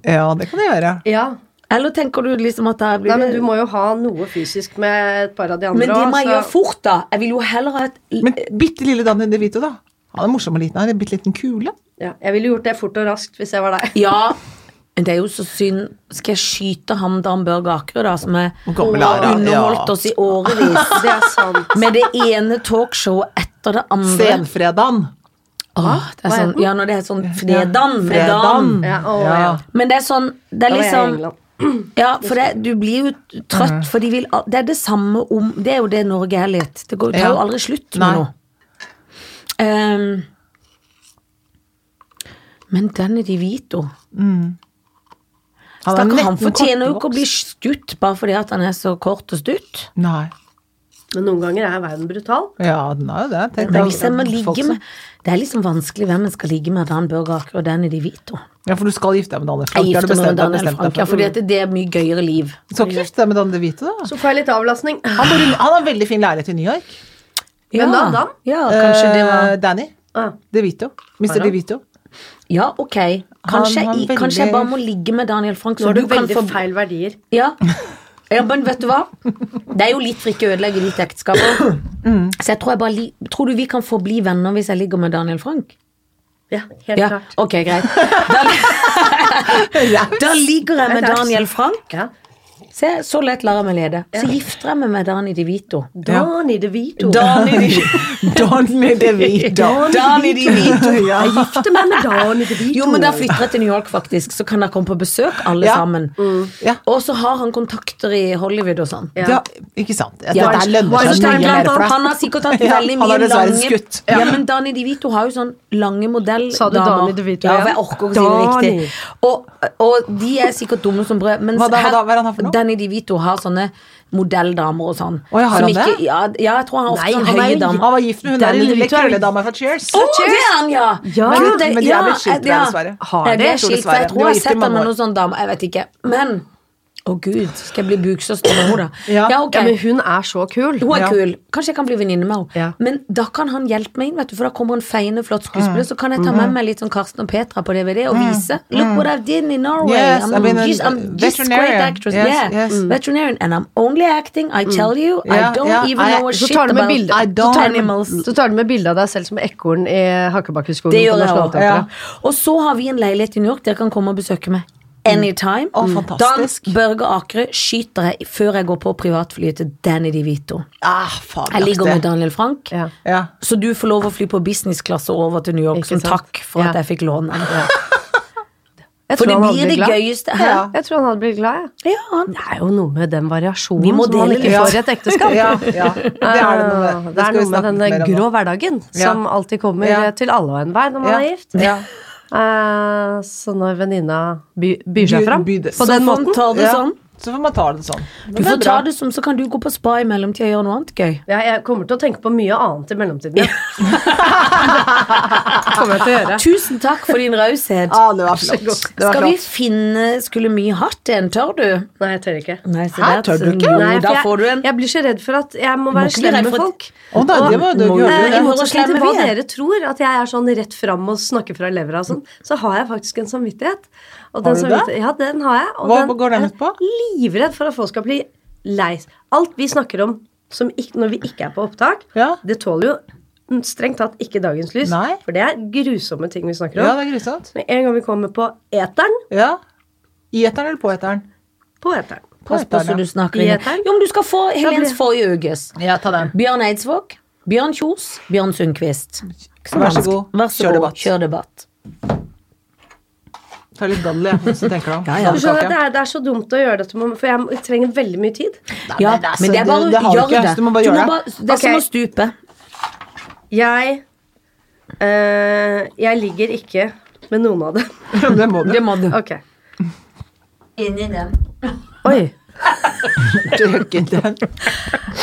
D: Ja, det kan du gjøre.
C: Ja.
A: Eller tenker du liksom at jeg blir
C: Nei, men du må jo ha noe fysisk med et par av de andre
A: Men det
C: også,
A: må jeg
C: så-
A: gjøre fort, da. Jeg vil jo heller ha et
D: Men bitte lille Danny DeVito, da. Han er morsom og liten. Han er en bitte liten kule.
C: Ja, jeg ville gjort det fort og raskt hvis jeg var deg.
A: Ja, men det er jo så synd. Skal jeg skyte ham Dan Børge Akerø, da, som er
D: Hvor gammel er han?
A: underholdt
D: Ja.
A: oss i årevis?
C: Det er sant.
A: Med det ene talkshowet etter det andre.
D: Senfredagen.
A: Åh, det er
C: Hva er
A: sånn,
C: den?
A: ja, når det er sånn fredan med dan.
D: Fredagen.
C: Ja, å,
D: Ja.
C: ja.
A: Men det er sånn Det er
C: Da var jeg i
A: liksom
C: England.
A: Ja, for det, du blir jo
D: Mm.
A: trøtt, for de vil al- Det er det samme om Det er jo det Norge er litt. Det går, tar jo
D: Ja.
A: aldri slutt
D: Nei.
A: med noe. Ehm, men Danny DeVito
D: Han er
A: Stakkar, han
D: nesten
A: fortjener jo ikke å bli
D: kortvokst.
A: stutt bare fordi at han er så kort og stutt.
D: Nei.
C: Men noen ganger er verden brutal.
D: Ja, den er jo det. Tenk
A: Men
D: deg
A: hvis jeg må
D: folk
A: ligge
D: som-
A: med Det er liksom vanskelig hvem en skal ligge med. Dan Børge Aker og Danny DeVito.
D: Ja, for du skal gifte deg med Daniel Frank.
A: Jeg
D: det har
A: gifter
D: du
A: meg med
D: bestemt deg-
A: Daniel
D: bestemt deg
A: Frank, ja,
D: for.
A: fordi at det er mye gøyere liv.
D: Du skal ikke gifte deg med Danne DeVito, da.
C: Så får jeg litt avlastning. Ah,
D: Han bor i- han har en veldig fin leilighet i New York.
C: Hvem da? Dan?
A: Ja, kanskje det var
D: Eh, Danny
C: Ah.
D: DeVito. Mr. DeVito.
A: Ja, ok. Kanskje,
D: har
A: i-
D: veldig-
A: kanskje jeg bare må ligge med Daniel Frank,
C: Nå
A: så
C: har du
A: du kan
C: veldig
A: få
C: feil verdier.
A: ja. ja, men vet du hva? Det er jo litt for ikke å ødelegge ditt ekteskap. også. Så jeg tror, jeg bare li tror du vi kan få bli venner hvis jeg ligger med Daniel Frank?
C: Ja, helt
A: Ja,
C: klart.
A: ok, greit. Da, da ligger jeg med
C: Raus.
A: Daniel Frank.
C: Ja.
A: Se, så lett lar jeg meg lede. Så gifter jeg meg med Dani De Vito.
C: Dani de Vito.
A: Dani De Vito. (laughs)
D: Donny DeVito.
A: Dani De (laughs) Vito.
D: Ja.
C: Jeg gifter meg med Dani de Vito.
A: Jo, men da flytter jeg til New York, faktisk. Så kan dere komme på besøk, alle
D: Ja. Mm.
A: sammen.
D: Ja.
A: Og så har han kontakter i Hollywood og sånn.
D: Ja, ikke sant. Dette
A: Ja.
D: lønner seg
A: Weinstein
D: mye
A: blant
D: mer for
A: annet. Han
D: deg.
A: har sikkert hatt
D: (laughs) Ja,
A: veldig
D: han
A: mye
D: har dessverre
A: lange
D: skutt.
A: ja. men Dani De Vito har jo sånn lange modelldamer.
C: Sa du Dani De Vito
A: Ja,
C: igjen?
A: for jeg orker ikke å si det
C: Dani.
A: riktig. Og, og de er sikkert dumme som brød. Mens
D: Hva da, hva
A: her-
D: da, hva er han her for noe?
A: Dani De Vito har sånne modelldamer og sånn.
D: Å, ja, har
A: som
D: han det?
A: ikke- Ja, ja, jeg tror han har ofte
C: Nei,
A: sånne
C: han er
A: høye
C: jo-
A: damer.
D: Han var gift med hun der
C: Danny
D: lille
C: DeVito er-
D: krøledama fra Cheers.
A: Å, det er han, ja!
C: Ja,
A: Gud,
D: men de er blitt skilt,
A: ja,
D: dessverre.
C: Har
A: Ja,
C: de?
A: de
C: Jeg
A: er
D: tror
A: skilt, for
D: dessverre.
A: jeg
D: De
A: tror
D: var
A: jeg har
D: gift i
A: sett
D: mange
A: ham med
D: år.
A: noen sånne damer. Jeg vet ikke. Men å gud, skal jeg bli buksøster med henne, da?
D: Ja.
A: ja, ok.
C: Ja, men hun er så kul.
A: Hun er
D: Ja.
A: kul. Kanskje jeg kan bli venninne med henne.
C: Ja.
A: Men da kan han hjelpe meg inn, vet du, for da kommer en feiende, flott skuespiller.
D: Mm.
A: Så kan jeg ta
D: Mm-hmm.
A: med meg litt sånn Karsten og Petra på DVD og vise. Look what I've done in Norway.
D: Yes,
A: I'm,
D: I've been a
A: just, I'm just great
D: veterinarian.
A: actress.
D: Yes,
A: yeah.
D: yes. Mm.
A: Veterinarian. And I'm only acting, I tell you.
D: Ja,
A: I don't
D: ja.
A: even
D: I-
A: know a
C: Så
A: shit
C: tar du med
A: about
C: bilde
D: I
C: så
D: don't-
C: tar du med,
A: animals.
C: så tar du med bilde av deg selv som ekorn i Hakkebakkeskogen.
A: Det
C: på
A: gjør jeg også.
C: Nationaltheatret.
A: Og så har vi en leilighet i New York dere kan komme og besøke meg. Anytime.
D: Å, fantastisk.
A: Dan Mm. Børge Akerø skyter jeg før jeg går på privatflyet til Danny DeVito.
D: Ah, faen,
A: Jeg ligger med
D: jakte.
A: Daniel Frank.
C: Ja.
D: Ja.
A: Så du får lov å fly på businessklasse over til New York
C: Ikke
A: som
C: sant?
A: takk for at
C: Ja.
A: jeg fikk låne den.
C: Jeg
A: For
C: tror
A: det
C: han hadde
A: blir
C: blitt
A: det
C: glad.
A: gøyeste her.
D: Ja.
C: Jeg tror han hadde blitt glad, jeg.
A: Ja, han-
C: Det er jo noe med den variasjonen
A: Vi må
C: som man
A: dele
C: ikke
A: litt.
C: får i et ekteskap.
D: (laughs)
C: Eh,
D: Ja, ja. Det er det noe
A: Ah,
D: med.
C: Det er
D: skal vi
C: noe med
D: snakke
C: denne
D: mer om nå.
C: grå hverdagen som alltid kommer
D: Ja.
C: til alle og enhver når man
D: Ja.
C: er gift.
D: Ja.
C: Eh, så når venninna by, byr seg
D: Byr-
C: fram
D: byr det-
C: på
A: Så
C: den
A: får man
C: måten
A: ta det
D: Ja.
A: sånn.
D: Så får man ta det sånn.
A: Du får ta det som, så kan du gå på spa i mellomtida og gjøre noe annet gøy.
C: ja, Jeg kommer til å tenke på mye annet i mellomtiden. Ja. (laughs) kommer jeg til å gjøre.
A: Tusen takk for din raushet.
D: Ah, det var flott. Det var
A: Skal vi
D: flott.
A: finne Skulle mye hatt en, tør du?
C: Nei, jeg tør ikke.
A: Nei, så
D: Hæ,
A: der-
D: tør du ikke?
A: Jo,
C: Nei, for
A: da
C: jeg,
A: får du en.
C: jeg blir så redd for at jeg må være
A: ikke bli
C: slem
A: redd
C: med
A: for at-
C: folk.
D: Å, nei, det må du
A: Må
D: ikke
A: jo
D: gjøre.
A: det.
C: Eh, I
A: Hvor
C: motsetning til
A: slemme
C: hva
A: vi er.
C: dere tror, at jeg er sånn rett fram og snakker fra levra og sånn, så har jeg faktisk en samvittighet. Og den
D: Har du det?
C: samvittighet- Ja, den har jeg. Og
D: Hva går den
C: er
D: ut på?
C: Livredd for at folk skal bli lei seg. Alt vi snakker om som ikk- når vi ikke er på opptak,
D: Ja.
C: det tåler jo mm, strengt tatt ikke dagens lys.
D: Nei.
C: For det er grusomme ting vi snakker
D: Ja,
C: om.
D: det er grusomt.
C: Med en gang vi kommer på eteren,
D: Ja. I eteren eller på eteren?
C: på eteren.
D: På
A: Pass på så
D: eteren,
A: du
D: ja.
A: snakker
C: I
A: inn.
C: eteren?
A: Jo, men du skal få Helens
C: blir-
A: forrige ukes.
D: Ja, ta den.
A: Bjørn Eidsvåg, Bjørn Kjos, Bjørn Sundquist. Ikke
D: Vær så
A: vanskelig.
D: god.
A: Vær så
D: Kjør
A: god.
D: debatt.
A: Kjør debatt.
D: Ta litt dadel, jeg, så
C: (laughs)
D: tenker du om.
A: Ja, ja.
C: Du skjønner, det, er, det er så dumt å gjøre dette, for jeg trenger veldig mye tid.
A: Ja,
D: men altså,
A: men det er
D: det-
A: bare
D: det har du
A: gjør
D: ikke.
A: det.
D: Du må bare gjøre det.
A: det er som
C: Ok.
A: å stupe.
C: Jeg eh, Jeg ligger ikke med noen av dem. (laughs)
D: Det må du.
A: Det må du.
C: Ok.
A: Inni den.
C: Oi.
D: Trykke inn den.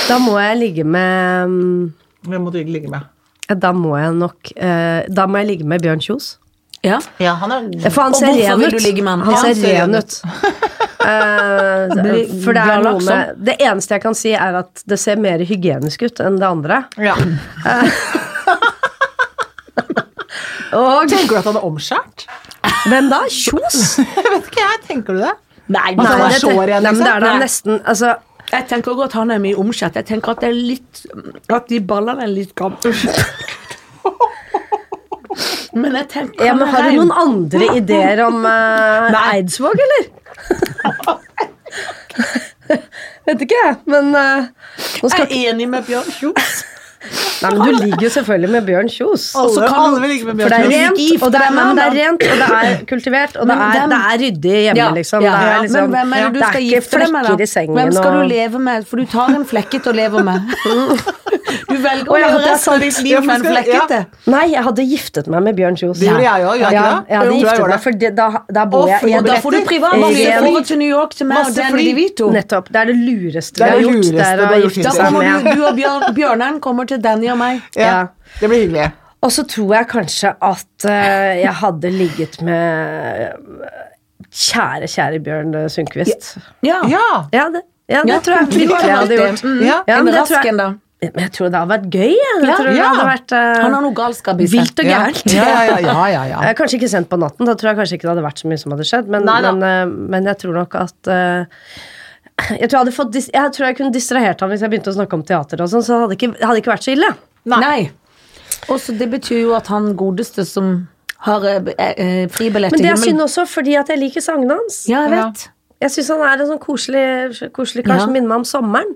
C: Da må jeg ligge med mm,
D: Hvem må du ikke ligge med?
C: ja, Da må jeg nok eh, Da må jeg ligge med Bjørn Kjos.
A: Ja.
D: Ja, han er
C: Ja, For han
A: Og
C: ser
A: hvorfor
C: ren
A: vil
C: ut.
A: du ligge med han?
C: Han
A: Ja,
C: ser ren ut. (laughs) Eh, for det er noe med Det eneste jeg kan si, er at det ser mer hygienisk ut enn det andre.
D: ja.
C: Og
A: (laughs)
D: Tenker du at han er omskjært? (laughs)
C: hvem da? Kjos?
D: Jeg vet ikke, jeg. Tenker du det?
A: Nei,
D: Nei,
A: men-
D: han er
C: det,
D: så ren,
C: nei, men det er da
A: liksom.
C: nesten Altså
A: Jeg tenker også at han er mye omskjært. Jeg tenker at det er litt At de ballene er litt (laughs) gamle. Men jeg tenker
C: Ja, men Har du noen
A: Nei,
C: andre ideer om eh, Eidsvåg, eller? (laughs) Vet ikke jeg, men eh, nå skal,
A: Jeg er enig med Bjørn Kjos.
C: Nei, men Du ligger jo selvfølgelig med Bjørn Kjos.
A: så
D: Alle,
A: kan du-
D: alle vil ligge med
C: For det er
D: Bjørn Kjos.
C: rent, og det er, men det er, rent, og det er kultivert, og det
A: Men
C: er,
A: dem-
C: det er ryddig hjemme, liksom. Det er, liksom
A: men hvem er det du
C: det
A: skal
C: er ikke
A: gifte deg med,
C: flekker i
A: da?
C: sengen.
A: Hvem skal
C: og-
A: du leve med? For du tar en flekkete og lever
C: (laughs)
A: med. Du velger å
C: Å, ja,
A: leve
C: det er
A: resten av ditt
D: Ja,
A: liv
D: for
A: med en
D: skal- ja.
A: flekkete.
C: Nei, jeg hadde giftet meg med Bjørn Kjos.
D: Det gjorde jeg også, gjorde jeg
C: ja,
D: ikke det?
C: jeg hadde
D: Jo, jeg
C: giftet
D: gjorde
C: meg,
D: det.
C: for det, da, da bor
D: Og
C: jeg
D: for-
C: i
A: Og
C: en
A: da får du privat.
C: Masse
A: Masse
C: fly.
A: over til New York til meg og
D: Masse
A: Danny
D: fly.
A: DeVito.
C: Nettopp. liksom. Det er det lureste
D: Det er
C: jeg har
D: det
C: gjort.
D: lureste
C: Det er å
D: du har gjort
C: gifte
A: Da
D: hittil.
C: seg
A: kommer
C: med
A: du, du og Bjørn, Bjørneren kommer til Danny og meg.
D: Ja.
C: Ja.
D: Det blir hyggelig.
C: Og så tror jeg kanskje at eh, jeg hadde ligget med kjære, kjære Bjørn eh, Sundquist.
A: Ja.
D: Ja.
C: Ja, det, ja, det
A: Ja,
C: tror jeg
A: du
C: virkelig
A: har
C: jeg
A: valgt
C: hadde
A: det.
C: gjort.
A: Mm.
D: Ja.
C: Ja,
A: en
C: men det
A: rask
C: tror jeg-
A: en, da.
C: Men jeg tror det hadde vært gøy. Jeg, jeg
A: Ja.
C: tror det
D: Ja.
C: hadde vært eh,
A: Han har noe galskap i seg.
C: vilt og
D: Ja.
C: gærent.
D: Ja, ja, ja, ja, ja.
C: (laughs) Eh, Kanskje ikke sendt på natten, da tror jeg kanskje ikke det hadde vært så mye som hadde skjedd. Men,
D: Nei da.
C: men, eh, men jeg tror nok at eh, jeg tror jeg, hadde fått dis jeg tror jeg kunne distrahert ham hvis jeg begynte å snakke om teater. og sånn, Så hadde ikke, hadde ikke vært så ille.
A: Nei. Og så det betyr jo at han godeste som har eh, eh, fribillett
C: Men
A: til
C: det er synd
A: himmelen
C: også, fordi at jeg liker sangene hans.
A: Ja, jeg vet.
C: Jeg Jeg syns han er en sånn koselig, koselig kar
A: Ja.
C: som minner meg om sommeren.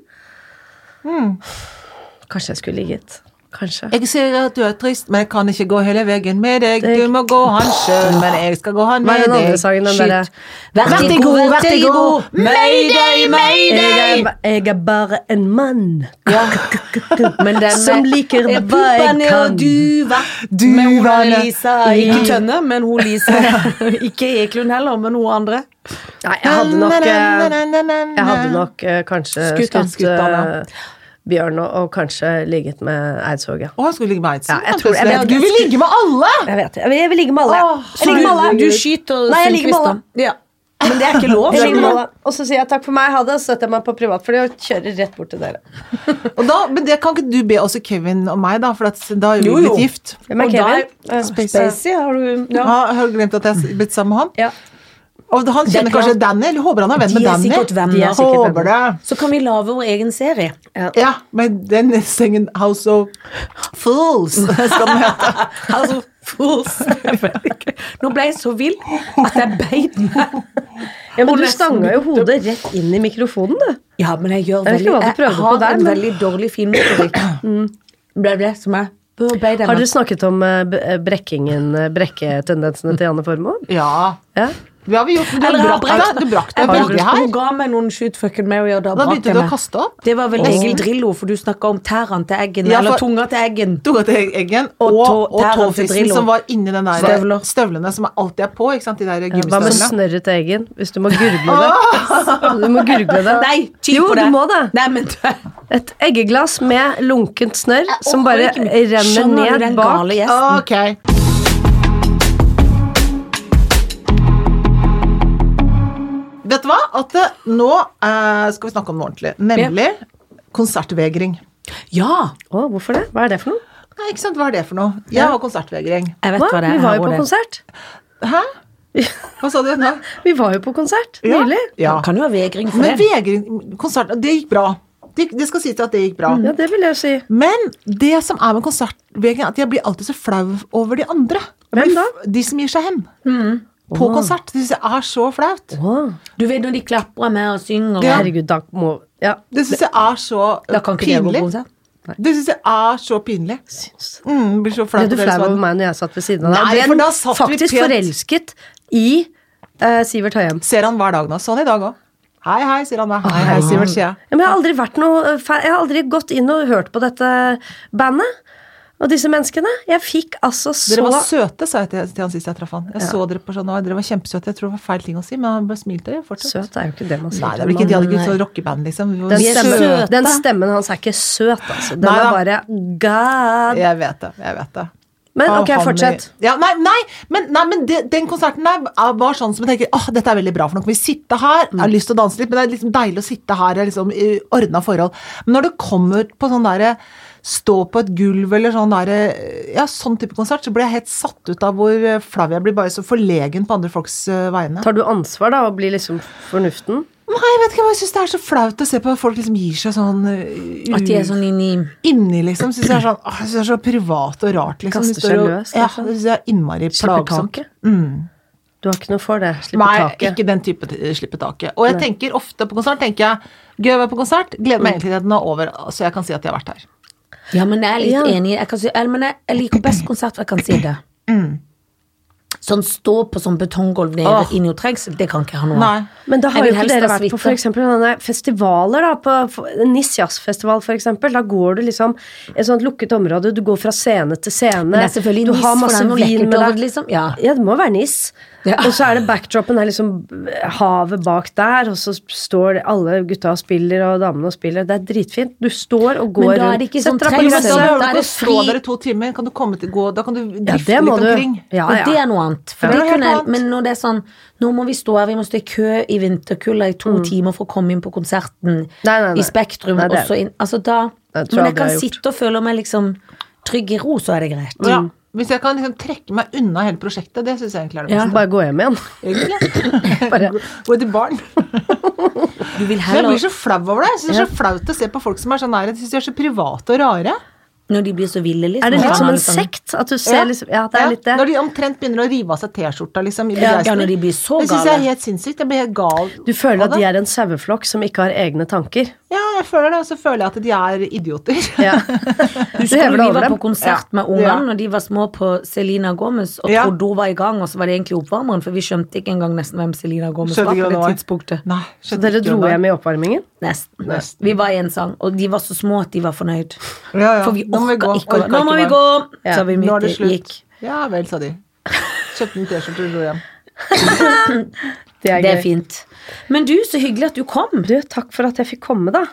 C: Kanskje jeg skulle ligget. Kanskje.
D: Jeg ser at du er trist, men jeg kan ikke gå hele veien med deg. Du må gå han sjøl, men jeg skal gå han
C: Hva er
D: med
C: den andre
D: deg.
C: sangen? Den derre
A: Vertigo, vertigo!
D: Mayday,
C: jeg,
D: mayday!
C: er- jeg er bare en mann
A: Men den
C: som
A: Eh,
C: liker hva jeg
A: puppene
C: kan.
A: og duva. Men hun
D: Duvane.
A: er Lisa. Ikke Tønne, men hun Lisa. Ikke Eklund heller, men hun andre.
C: Nei, jeg hadde nok eh, Jeg hadde nok eh, kanskje
A: Skutt
C: skutt,
A: han, skutt han,
C: eh, Bjørn og, og kanskje ligget med Eidsvåg, ja.
D: Å, han skulle ligge med Eidsen?
C: Ja, jeg tror- jeg vet-
D: du vil ligge med alle!
C: Jeg vet det. Jeg vil- Jeg vil ligge med alle.
D: Åh,
C: jeg ligger med alle.
A: Du, du skyter
C: Nei, jeg ligger med
A: Sundquist, da.
C: alle.
A: Ja. Men det er ikke lov.
C: (laughs) Jeg ligger med alle. Og så sier jeg takk for meg, ha det, og så setter jeg meg på privatfly og kjører rett bort til dere.
D: Og da, men det kan ikke du be også Kevin og meg, da, for at, da er vi
A: Jo, jo.
D: blitt gift.
C: Hvem er
A: Og da er-
C: Kevin? Eh,
A: Spacey, har du
D: Ja.
A: ja.
D: Har du glemt at jeg har blitt sammen med han?
C: Ja.
D: Og han
A: Det er
D: kjenner kanskje
A: klart.
D: Daniel? Håper han er venn
A: De
D: med
A: er
D: Daniel?
A: sikkert venner.
C: De er sikkert
D: Håper det.
A: Så kan vi lage vår egen serie.
D: Ja, men den sengen House of
A: (laughs)
D: Fools skal den hete.
A: Altså, fools. (laughs) Jeg vet ikke. Nå ble jeg så vill at jeg beit meg.
C: Ja, men
A: Og
C: du
A: nesten
C: stanga jo hodet rett inn i mikrofonen, du.
A: Ja, men jeg gjør
C: Jeg vet
A: veldig
C: ikke hva du
A: Jeg
C: prøvde på
A: har
C: der,
A: en
C: men- Mm.
A: veldig dårlig
C: (clears throat)
A: finmotorikk. Det er det som er Nå ble det
C: Har
A: meg.
C: dere snakket om eh, b- eh, brekkingen, eh, brekketendensene til Janne Formoe?
D: Ja.
C: Ja.
D: Det har vi gjort, men
A: Eller
D: du
A: jeg har
D: brakk deg.
A: brekt-
D: Du brakk deg
A: Jeg brakk-
D: veldig her.
A: Hun ga meg noen shoot fucking Mary, og da,
D: Da
A: brakk
D: begynte
A: jeg
D: du å
A: meg.
D: kaste opp.
A: Det var vel Egil Drillo, for du snakka om tærne til eggen.
D: Ja,
A: Eller
D: for-
A: tunga til eggen.
D: Tunga til eggen
A: Og
D: og,
A: tå-
D: og
A: tærne til
D: tåfissen
A: Drillo.
D: som var inni den der
A: Støvler.
D: støvlene som alltid er på. ikke sant, de der
C: Hva med
D: gymstøvlene.
C: snørret eggen? Hvis du må gurgle det. (laughs) Du må gurgle det.
A: Ah! Nei, kjipt
C: jo,
A: på
C: du
A: det.
C: må det.
A: Nei, men du-
C: Et eggeglass med lunkent snørr som
A: Åh,
C: bare
A: ikke min-
C: renner
A: Skjønner du
C: ned
A: den
C: bak.
A: gale gjesten?
D: Ok. Vet du hva? At eh, nå eh, skal vi snakke om noe ordentlig. Nemlig konsertvegring.
A: Ja!
C: Å, hvorfor det? Hva er det for noe?
D: Nei, ikke sant? Hva er det for noe? Jeg har konsertvegring.
A: Jeg vet
C: Hva?
A: hva det er.
C: Vi var
A: her
C: jo på
A: og det.
C: konsert.
D: Hæ? (laughs) Hva sa du nå?
C: Vi var jo på konsert
D: Ja.
C: nylig.
D: Ja.
A: Kan jo ha vegring for
D: Men
A: det.
D: vegring Konsert Det gikk bra. Det, det skal sies at det gikk bra.
C: Ja, det vil jeg si.
D: Men det som er med konsertvegring, er at jeg blir alltid så flau over de andre. Jeg
C: Hvem
D: blir
C: da?
D: f- De som gir seg hen. På konsert. Det syns jeg er så flaut.
C: Åh.
A: Du vet når de klapper med og synger.
D: Ja.
C: Herregud, da må Ja,
D: Det syns jeg er så
A: Da kan ikke jeg gå på
D: pinlig.
A: konsert.
D: Det syns jeg er så pinlig.
C: syns
D: Mm, blir så flau
C: Ble du
D: på
C: flau
D: deres
C: over
D: vegne.
C: meg når jeg satt ved siden av deg?
D: Nei,
C: Ble
D: for da satt vi
C: faktisk
D: pent.
C: forelsket i eh, Sivert Høyem.
D: Ser han hver dag nå. Sånn i dag òg. Hei, hei, sier han meg. Hei, hei, Sivert, sier jeg.
C: Ja, men jeg har aldri vært noe eh, fa- Jeg har aldri gått inn og hørt på dette bandet og disse menneskene. Jeg fikk altså så
D: Dere var søte, sa jeg til, til han sist jeg traff han. Jeg så dere på Chat Noir. Dere var kjempesøte. Jeg tror det var feil ting å si, men han bare smilte dere fortsatt.
C: Søt er jo ikke det man sier.
D: Nei, det
C: til
D: er vel ikke
C: en
D: de
C: mann.
D: hadde ikke sånn rockeband, liksom. Vi var
C: den
A: Vi er
C: stemmen,
A: søte.
C: den stemmen hans er ikke søt, altså. Den
D: Neida.
C: er bare god.
D: Jeg vet det. jeg vet det.
C: Men
D: Ah,
C: ok,
D: han-
C: fortsett.
D: Ja, nei, nei, men, nei, men det, den konserten der er- var sånn som jeg tenker åh, dette er veldig bra, for nå kan vi sitte her. Jeg har
C: Mm.
D: lyst til å danse litt, men det er liksom deilig å sitte her i liksom, i ordna forhold. Men når det kommer på sånn derre stå på et gulv eller sånn derre Ja, sånn type konsert, så blir jeg helt satt ut av hvor eh, flau jeg blir, bare så forlegen på andre folks eh, vegne.
C: Tar du ansvar, da, og blir liksom fornuften?
D: Nei, jeg vet ikke, jeg bare syns det er så flaut å se på at folk liksom gir seg sånn eh,
A: At de er sånn inni
D: inni, liksom. Syns det er sånn, åh, jeg synes det er så privat og rart, liksom.
C: Kaster
D: Det står
C: seg
D: og-
C: løs,
D: Ja, det
C: liksom.
D: synes jeg er
C: Slipper
D: innmari
C: sånn
D: plagsomt.
C: taket? Mm. Du har ikke noe for det? Slipper
D: Nei,
C: taket?
D: ikke den type eh, slippe taket. Og jeg tenker ofte på konsert, tenker jeg, gøy å være på konsert, gleder meg egentlig til den er over, så jeg kan si at jeg har vært her.
A: Ja, men jeg er litt
C: Ja.
A: enig. Jeg, kan si, eller, men jeg, jeg liker best konsert, for jeg kan si det.
C: Mm.
A: Sånn stå på sånn betonggulv nede
D: Åh.
A: inni og trengsel, det kan ikke jeg ha noe
D: Nei.
A: av.
C: Men da
A: Jeg
C: har jo
A: vil
C: ikke
A: helst
C: dere
A: ha
C: vært på
A: suite.
C: f.eks. sånne festivaler, da. På f- NIS jazzfestival, f.eks. Da går du liksom et sånt lukket område. Du går fra scene til scene.
A: Men det er selvfølgelig
C: du
A: NIS,
C: har
A: for det
C: masse
A: er noe
C: vin
A: lekkert
C: med
A: over
C: deg.
A: det, liksom. Ja.
C: det må være NIS.
A: Ja.
C: Og så er det backdropen er liksom havet bak der, og så står alle gutta og spiller, og damene og spiller. Det er dritfint. Du står og går
A: Men da er det ikke sånn
C: Setter deg på
A: trengsel.
D: Men da
C: gresset.
A: er det
D: behøver du ikke å stå
A: fri-
D: der i to timer, kan du komme til gå, da kan du
C: Ja,
D: drifte
C: det
D: litt
C: må du.
D: omkring.
C: Ja,
A: Og det
C: ja.
A: er noe annet. For
D: Ja.
A: det
D: Det er
A: kunne
D: helt
A: jeg,
D: annet.
A: men når det er sånn Nå må vi stå her, vi må stå i kø i vinterkulda i to timer for å komme inn på konserten
C: Mm. Nei, nei, nei.
A: i Spektrum.
C: Nei, det er-
A: og så inn, altså da, men jeg
C: Det tror jeg aldri
A: kan
C: jeg har gjort.
A: sitte og føle meg liksom trygg i ro, så er det greit.
D: Ja. Hvis jeg kan liksom trekke meg unna hele prosjektet, det syns jeg egentlig er det
A: Ja.
D: beste.
C: Bare gå hjem igjen.
D: Egentlig. Gå til barn.
A: Du vil
D: Men jeg
A: heller
D: blir så flau over det. Jeg synes det er så flaut å se på folk som er sånn nære. Jeg synes de er så private og rare.
A: Når de blir så ville, liksom.
C: Er det
A: at
C: litt
A: man
C: som
A: har
C: en
A: litt sånn-
C: sekt? At du ser
D: Ja.
C: liksom Ja, det er litt det.
D: Når de omtrent begynner å rive av seg T-skjorta, liksom. I
A: Ja,
D: begeistring.
A: når de blir så
D: Det syns jeg er
A: gale.
D: helt sinnssykt. Jeg blir helt gal.
C: Du føler
D: av
C: at de
D: det.
C: er en saueflokk som ikke har egne tanker.
D: Ja, jeg føler det, og så føler jeg at de er idioter.
C: Ja.
A: Husker
C: hever
A: du
C: deg
A: vi
C: over
A: var
C: dem.
A: på konsert
D: Ja.
A: med ungene
D: Ja.
A: når de var små på Selena Gomez og
D: Ja.
A: trodde hun var i gang, og så var det egentlig oppvarmeren, for vi skjønte ikke engang nesten hvem Selena Gomez
D: Skjønte
A: var
D: ikke
A: på
D: hvem
A: det
D: det var.
A: tidspunktet.
D: (laughs) Nei,
C: Så dere dro hjem i oppvarmingen?
A: Nesten.
D: Nesten.
A: Vi var i en sang, og de var så små at de var fornøyd.
D: Ja, ja.
A: For vi
D: Nå må vi
A: orka
D: gå.
A: ikke å
D: Orker
A: Nå må vi
D: ikke
A: gå!
C: Ja.
A: Så vi
D: Nå er
A: midt
D: det
A: i-
D: slutt.
A: gikk.
D: Ja vel, sa de. Kjøpte en T-skjorte og dro
C: (laughs)
D: hjem.
C: Det er,
A: Det er
C: gøy.
A: fint. Men du, så hyggelig at du kom.
D: Mhm.
C: Du, takk for at jeg fikk komme, da.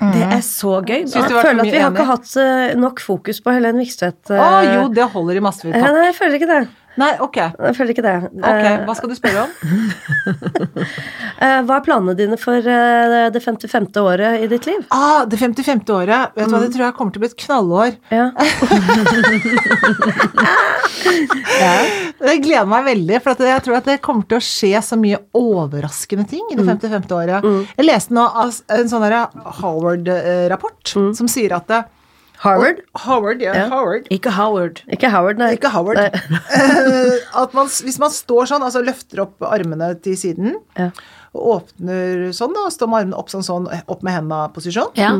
A: Det er så gøy.
D: Syns du
C: Jeg føler
D: var for
C: at vi
D: mye
C: har ikke
D: enig?
C: hatt eh, nok fokus på Helen Vikstvedt. eh,
D: Å jo, det holder i massevis.
C: eh,
D: takk.
C: Nei, jeg føler ikke det.
D: Nei, ok.
C: Jeg føler ikke det.
D: Ok,
C: Eh,
D: Hva skal du spørre
C: (laughs)
D: om?
C: eh, hva er planene dine for eh, det 55. året i ditt liv?
D: Ah, det 55. året. Vet du hva, det tror jeg kommer til å bli et knallår.
C: Ja.
D: Jeg gleder meg veldig, for at jeg tror at det kommer til å skje så mye overraskende ting i det
C: Mm.
D: 55. året. Jeg leste nå av s- en sånn Howard-rapport som sier at det,
C: Mm. Harvard?
D: Howard, ja,
C: Ja. (laughs)
D: Howard.
A: Ikke Howard.
C: Ikke Howard, nei.
D: Ikke Howard.
C: Nei.
D: Eh, at man, s- hvis man står sånn, altså løfter opp armene til siden,
C: Ja.
D: og åpner sånn da, og står med armene opp sånn, sånn opp med hendene-posisjon.
A: Ja.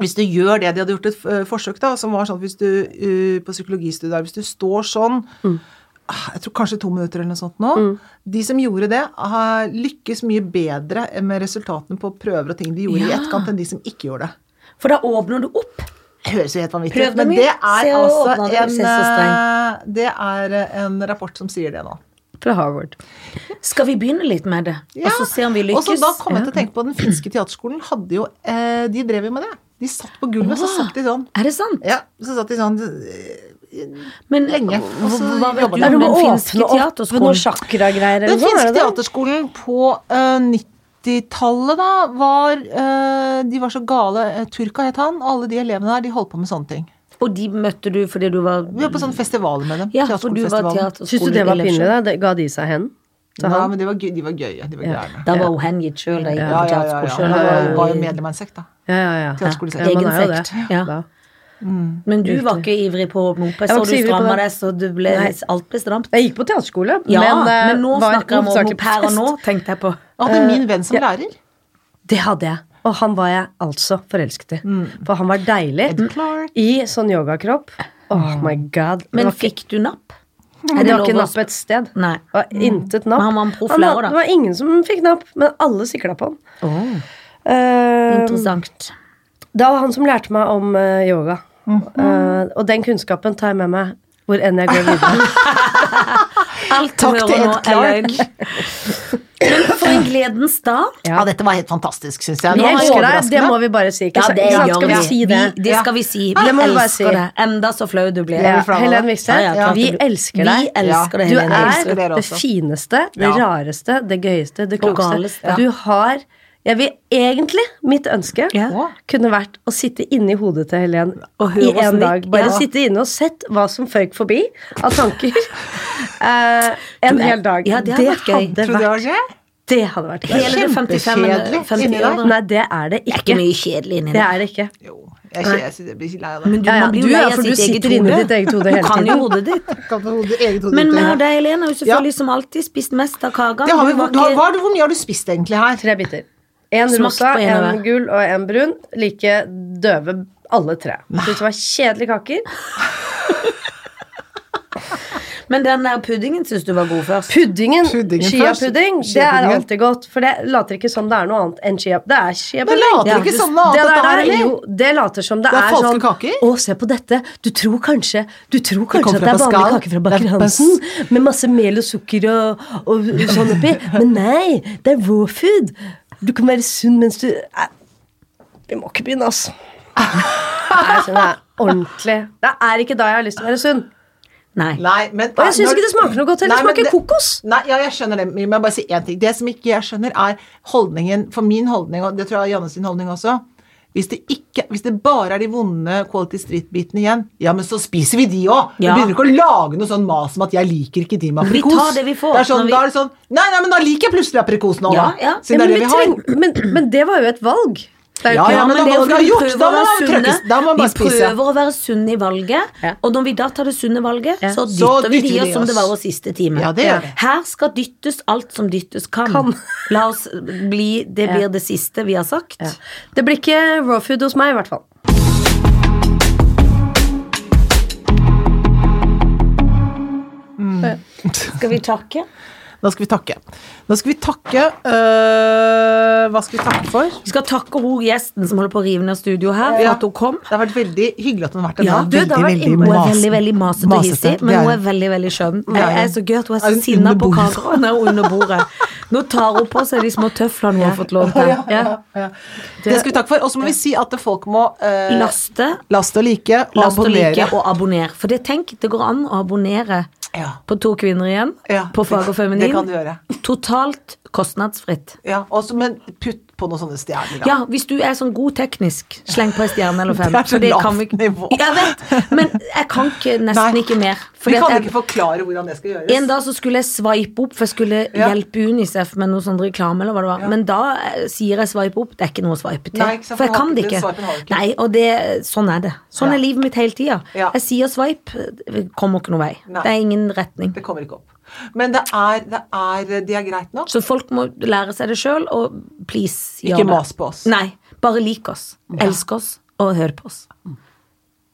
D: Hvis du gjør det, de hadde gjort et eh, forsøk da, som var sånn at hvis du eh, på psykologistudiet, hvis du står sånn,
A: Mm.
D: ah, jeg tror kanskje to minutter eller noe sånt nå, de som gjorde det, har lykkes mye bedre med resultatene på prøver og ting de gjorde i
A: Ja.
D: etterkant enn de som ikke gjorde det.
A: For da åpner du opp.
D: Det høres jo helt vanvittig
A: Prøv det
D: ut, men
A: mye.
D: det er
A: Se og
D: altså
A: åpne det,
D: en,
A: se så streng.
D: eh, det er en rapport som sier det nå.
C: Fra Harvard.
A: Skal vi begynne litt med det?
D: Ja.
A: Og så se om vi
D: Og så
A: lykkes?
D: da kom jeg til å tenke på den finske teaterskolen hadde jo, eh, de drev jo med det. De satt på gulvet, så
A: Åh.
D: satt de sånn.
A: Er det sant?
D: Ja, så satt de sånn eh,
A: Men
D: Lenge. Og så
A: hva vet
D: jobbet
A: du
D: de.
C: Er
A: om den
C: det å
A: finske
C: åpne opp noen
A: teaterskolen?
C: sjakra-greier eller noe
D: Den
C: sånt?
D: finske
C: er det det?
D: teaterskolen på eh, 90-tallet, da, var eh, De var så gale. eh, Turka het han. og Alle de elevene der, de holdt på med sånne ting.
A: Og de møtte du fordi du var
D: Vi var på sånne festivaler med dem.
A: Ja, for du var
D: teaterskolefestivalen.
C: Syns du det var pinlig? da? Det- Ga de seg hen? Til
D: Nei,
C: han?
D: men de var, gøy, de var gøye. De var gærne.
A: Da var hun hengitt sjøl, da gikk
D: Ja,
A: på
D: ja, ja.
A: teaterskole
D: ja.
A: selv.
D: Han var, var jo medlem av en sekt, da.
C: Ja, ja, ja.
D: Teaterskolesekk.
C: Ja, man
A: Egen
C: er jo det.
A: sekt, ja.
C: Da.
A: Men du var ikke ivrig på å åpne opp. Jeg
C: Jeg
A: så
C: var
A: du
C: ikke ivrig på
A: stramma
C: det.
A: deg, så du ble,
C: Nei.
A: alt ble stramt.
C: Jeg gikk på teaterskole,
A: Ja, men,
C: eh,
A: nå
C: var
A: snakker jeg om
C: hovedsakelig på
A: moped, og
C: fest.
A: nå tenkte jeg på
D: Jeg hadde min venn som lærer.
C: Det hadde jeg. Og han var jeg altså forelsket i.
A: Mm.
C: For han var deilig.
D: Ed Clark.
C: I sånn yogakropp. Oh my god.
A: Mm. Men
C: det var ikke,
A: fikk du napp? Er
C: det var
A: lov
C: ikke
A: å-
C: napp et sted.
A: Nei.
C: Det var intet napp.
A: Men han var en proff
C: Han
A: lærer,
C: had-
A: da.
C: Det var ingen som fikk napp, men alle sikla på han. Eh,
A: Interessant.
C: da var han som lærte meg om eh, yoga.
A: Mhm.
C: Eh, og den kunnskapen tar jeg med meg hvor enn jeg går videre.
A: Alt
D: Takk
A: du
D: til
A: hører nå,
D: Ed Clark.
A: er løgn. Men for en gledens
C: (laughs)
A: dag.
D: Ja. dette var helt fantastisk, syns jeg.
C: Vi
D: Det var
C: elsker deg,
D: overraskende.
C: det må vi bare si. Ikke sant? Ikke sant? Skal vi si det?
A: Vi, det skal vi si. Vi
C: Det må vi bare
A: elsker
C: si.
A: deg. Enda så flau du blir.
C: Ja,
D: vi flau av
C: Helen
D: det?
C: Vikstvedt,
A: Ja, ja, klart
C: vi
A: det blir-
C: elsker
A: Vi
C: deg.
A: elsker deg,
C: Du
A: Helene. Jeg elsker
D: elsker
C: er
D: dere
C: det
D: også.
C: fineste, det
D: Ja.
C: rareste, det gøyeste, det
A: Og galeste,
C: klokeste.
A: ja.
C: Du har Jeg vil egentlig Mitt ønske
A: Ja.
C: kunne vært å sitte inni hodet til Helen
A: Og høre
C: i
A: hvordan
C: en
A: det
C: dag.
A: gikk.
C: Bare
A: Ja.
C: sitte inne og sett hva som føyk forbi av
A: (laughs)
C: tanker. eh, en
A: Du, jeg-
C: hel dag.
A: ja, det hadde vært gøy.
C: hadde
D: Tror du det
C: vært-
D: var gøy?
C: det hadde vært gøy.
A: Hele det 55 minutter.
D: Kjempekjedelig
A: 50
D: inni deg.
A: år.
C: Nei, det er det
A: Det er ikke
C: ikke.
A: mye kjedelig inni
C: Det
A: deg.
C: er det ikke.
D: Jo. Jeg, er ikke- jeg, jeg blir ikke lei av det.
A: Men du,
C: Ja, ja,
A: man blir
C: du
A: jo lei
C: er,
A: av
C: for du
A: sitt eget
C: sitter inne i
A: hode.
C: ditt eget hode
A: Du
C: hele
A: kan jo
C: tiden.
A: hodet ditt.
D: Kan ta hodet- eget hode
A: Men
D: ut,
A: vi
D: ja.
A: og deg, Helene, har jo selvfølgelig som liksom alltid spist mest av kaka.
D: Det har vi,
A: Du var
D: du har,
A: ikke-
D: hva, er det- hvor mye har du spist egentlig her?
C: Tre biter. En
A: Smakte
C: rosa,
A: på en av
C: en
A: hver.
C: gul og en brun. Like døve alle tre. Syntes det var kjedelige kaker.
A: Men den der puddingen syns du var god først.
C: Puddingen,
D: Puddingen
C: chiapudding,
D: først.
C: det er
D: Chiapuddingen.
C: alltid godt. For det later ikke som det er noe annet enn chia. Det er
D: Det
C: chiapudding.
D: later
A: Ja,
D: ikke
A: du-
D: som noe
C: Det,
D: annet,
C: der
D: dette her,
C: er,
D: eller?
C: jo, det later som det,
D: Det er
C: er,
D: falske
C: sånn
D: kaker.
C: Å, se på dette. Du tror kanskje, du tror kanskje
D: kommer
C: at det er
D: fra
C: vanlig
D: Pascal.
C: kake fra
D: Det
C: Baker
D: er
C: Hansen med masse mel og sukker og, og sånn oppi. Men nei, det er raw food. Du kan være sunn mens du Nei, Vi må ikke begynne, altså. Nei, jeg synes det er ordentlig Det er ikke da jeg har lyst til å være sunn.
A: Nei.
D: Nei, men,
C: Og jeg syns ikke det smaker noe godt heller.
D: Nei,
C: Det
D: men
C: smaker kokos.
D: Nei, ja, jeg skjønner det, men jeg må bare si én ting. Det som ikke jeg skjønner, er holdningen For min holdning, og det tror jeg er Janne sin holdning også hvis det, ikke, hvis det bare er de vonde Quality Street-bitene igjen, ja, men så spiser vi de òg! Vi
A: Ja.
D: begynner ikke å lage noe sånn mas om at 'jeg liker ikke de med
A: Vi
D: aprikos'.
A: tar det vi får,
D: Det er sånn,
A: når vi-
D: da er det sånn Nei, nei, men da liker jeg plutselig aprikosen òg, da!
A: Ja, ja.
D: Siden det
C: men,
D: er det
C: vi
D: vi har.
C: treng- men, men det var jo et valg.
A: Det er jo
D: Ja,
A: ikke-
D: ja, men da må
A: det er jo
D: vi ha
A: fordi
D: gjort,
A: prøver
D: da
A: å
D: må
A: være
D: vi
A: sunne.
D: trykkes, da må vi bare spise.
A: Vi prøver å være sunne i valget,
C: Ja.
A: og når vi da tar det sunne valget,
C: Ja.
A: så dytter,
D: Så
A: vi
D: dytter
A: de
D: vi
A: oss som det
D: oss.
A: var vår siste time.
D: Ja, det gjør vi.
A: Her skal dyttes alt som dyttes kan. La oss bli Det blir det siste vi har sagt.
C: Ja. Det blir ikke raw food hos meg, i hvert fall.
A: Skal vi takke?
D: Da skal vi takke. Da skal vi takke øh, Hva skal vi takke for?
A: Vi skal takke hun gjesten som holder på å rive ned studio her, for
D: Ja.
A: at hun kom.
D: Det har vært veldig hyggelig at hun har vært her.
A: Ja,
D: da.
A: du, det har vært Hun er veldig veldig masete og
D: Masete,
A: hissig, men
D: det er
A: hun er
D: hun.
A: veldig veldig skjønn.
D: Ja,
A: Jeg
D: ja.
A: er så gøy at hun er
D: Er
A: så
D: hun
A: sinna
D: under
A: på
D: bordet?
A: kakene Hun er under bordet. Nå tar hun på seg de små tøflene hun har fått lov til. Ja.
D: Ja. Det skal vi takke for. Og så må vi si at folk må øh,
A: Laste,
D: laste og like og
A: last og
D: abonnere.
A: like og abonner. For det tenk, det går an å abonnere
D: Ja.
A: på To kvinner igjen,
D: Ja,
A: på Fag og
D: det- det kan
A: Feminin.
D: du gjøre.
A: Totalt kostnadsfritt.
D: Ja, også, men putt på noen sånne stjerner. da.
A: Ja, hvis du er sånn god teknisk, sleng på en stjerne eller fem.
D: Det er så
A: for
D: lavt
A: kan vi-
D: nivå.
A: Jeg vet, men jeg kan ikke, nesten
D: Nei.
A: ikke mer.
D: vi
A: at
D: kan
A: jeg-
D: ikke forklare hvordan det skal gjøres.
A: En dag så skulle jeg swipe opp, for jeg skulle
D: Ja.
A: hjelpe Unicef med noe sånn reklame. eller hva det var Men da eh, sier jeg swipe opp. Det er ikke noe å swipe til.
D: Nei, ikke sant,
A: for jeg
D: for
A: kan det
D: den
A: ikke.
D: swipen har du ikke.
A: Nei, og det, Sånn er det. Sånn
D: Ja.
A: er livet mitt hele tida.
D: Ja.
A: Jeg sier swipe, det kommer ikke noen vei.
D: Nei.
A: Det er ingen retning.
D: Det kommer ikke opp. Men det er, det er, de er greit nå.
A: Så folk må lære seg det sjøl, og please gjør
D: Ikke
A: det.
D: mas på oss.
A: Nei. Bare lik oss. Elsk oss, og hør på oss.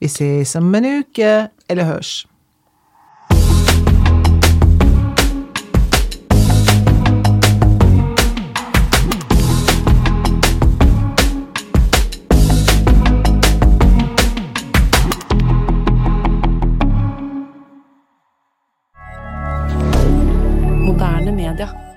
D: Vi ses om en uke, eller hørs.
E: Moderne media.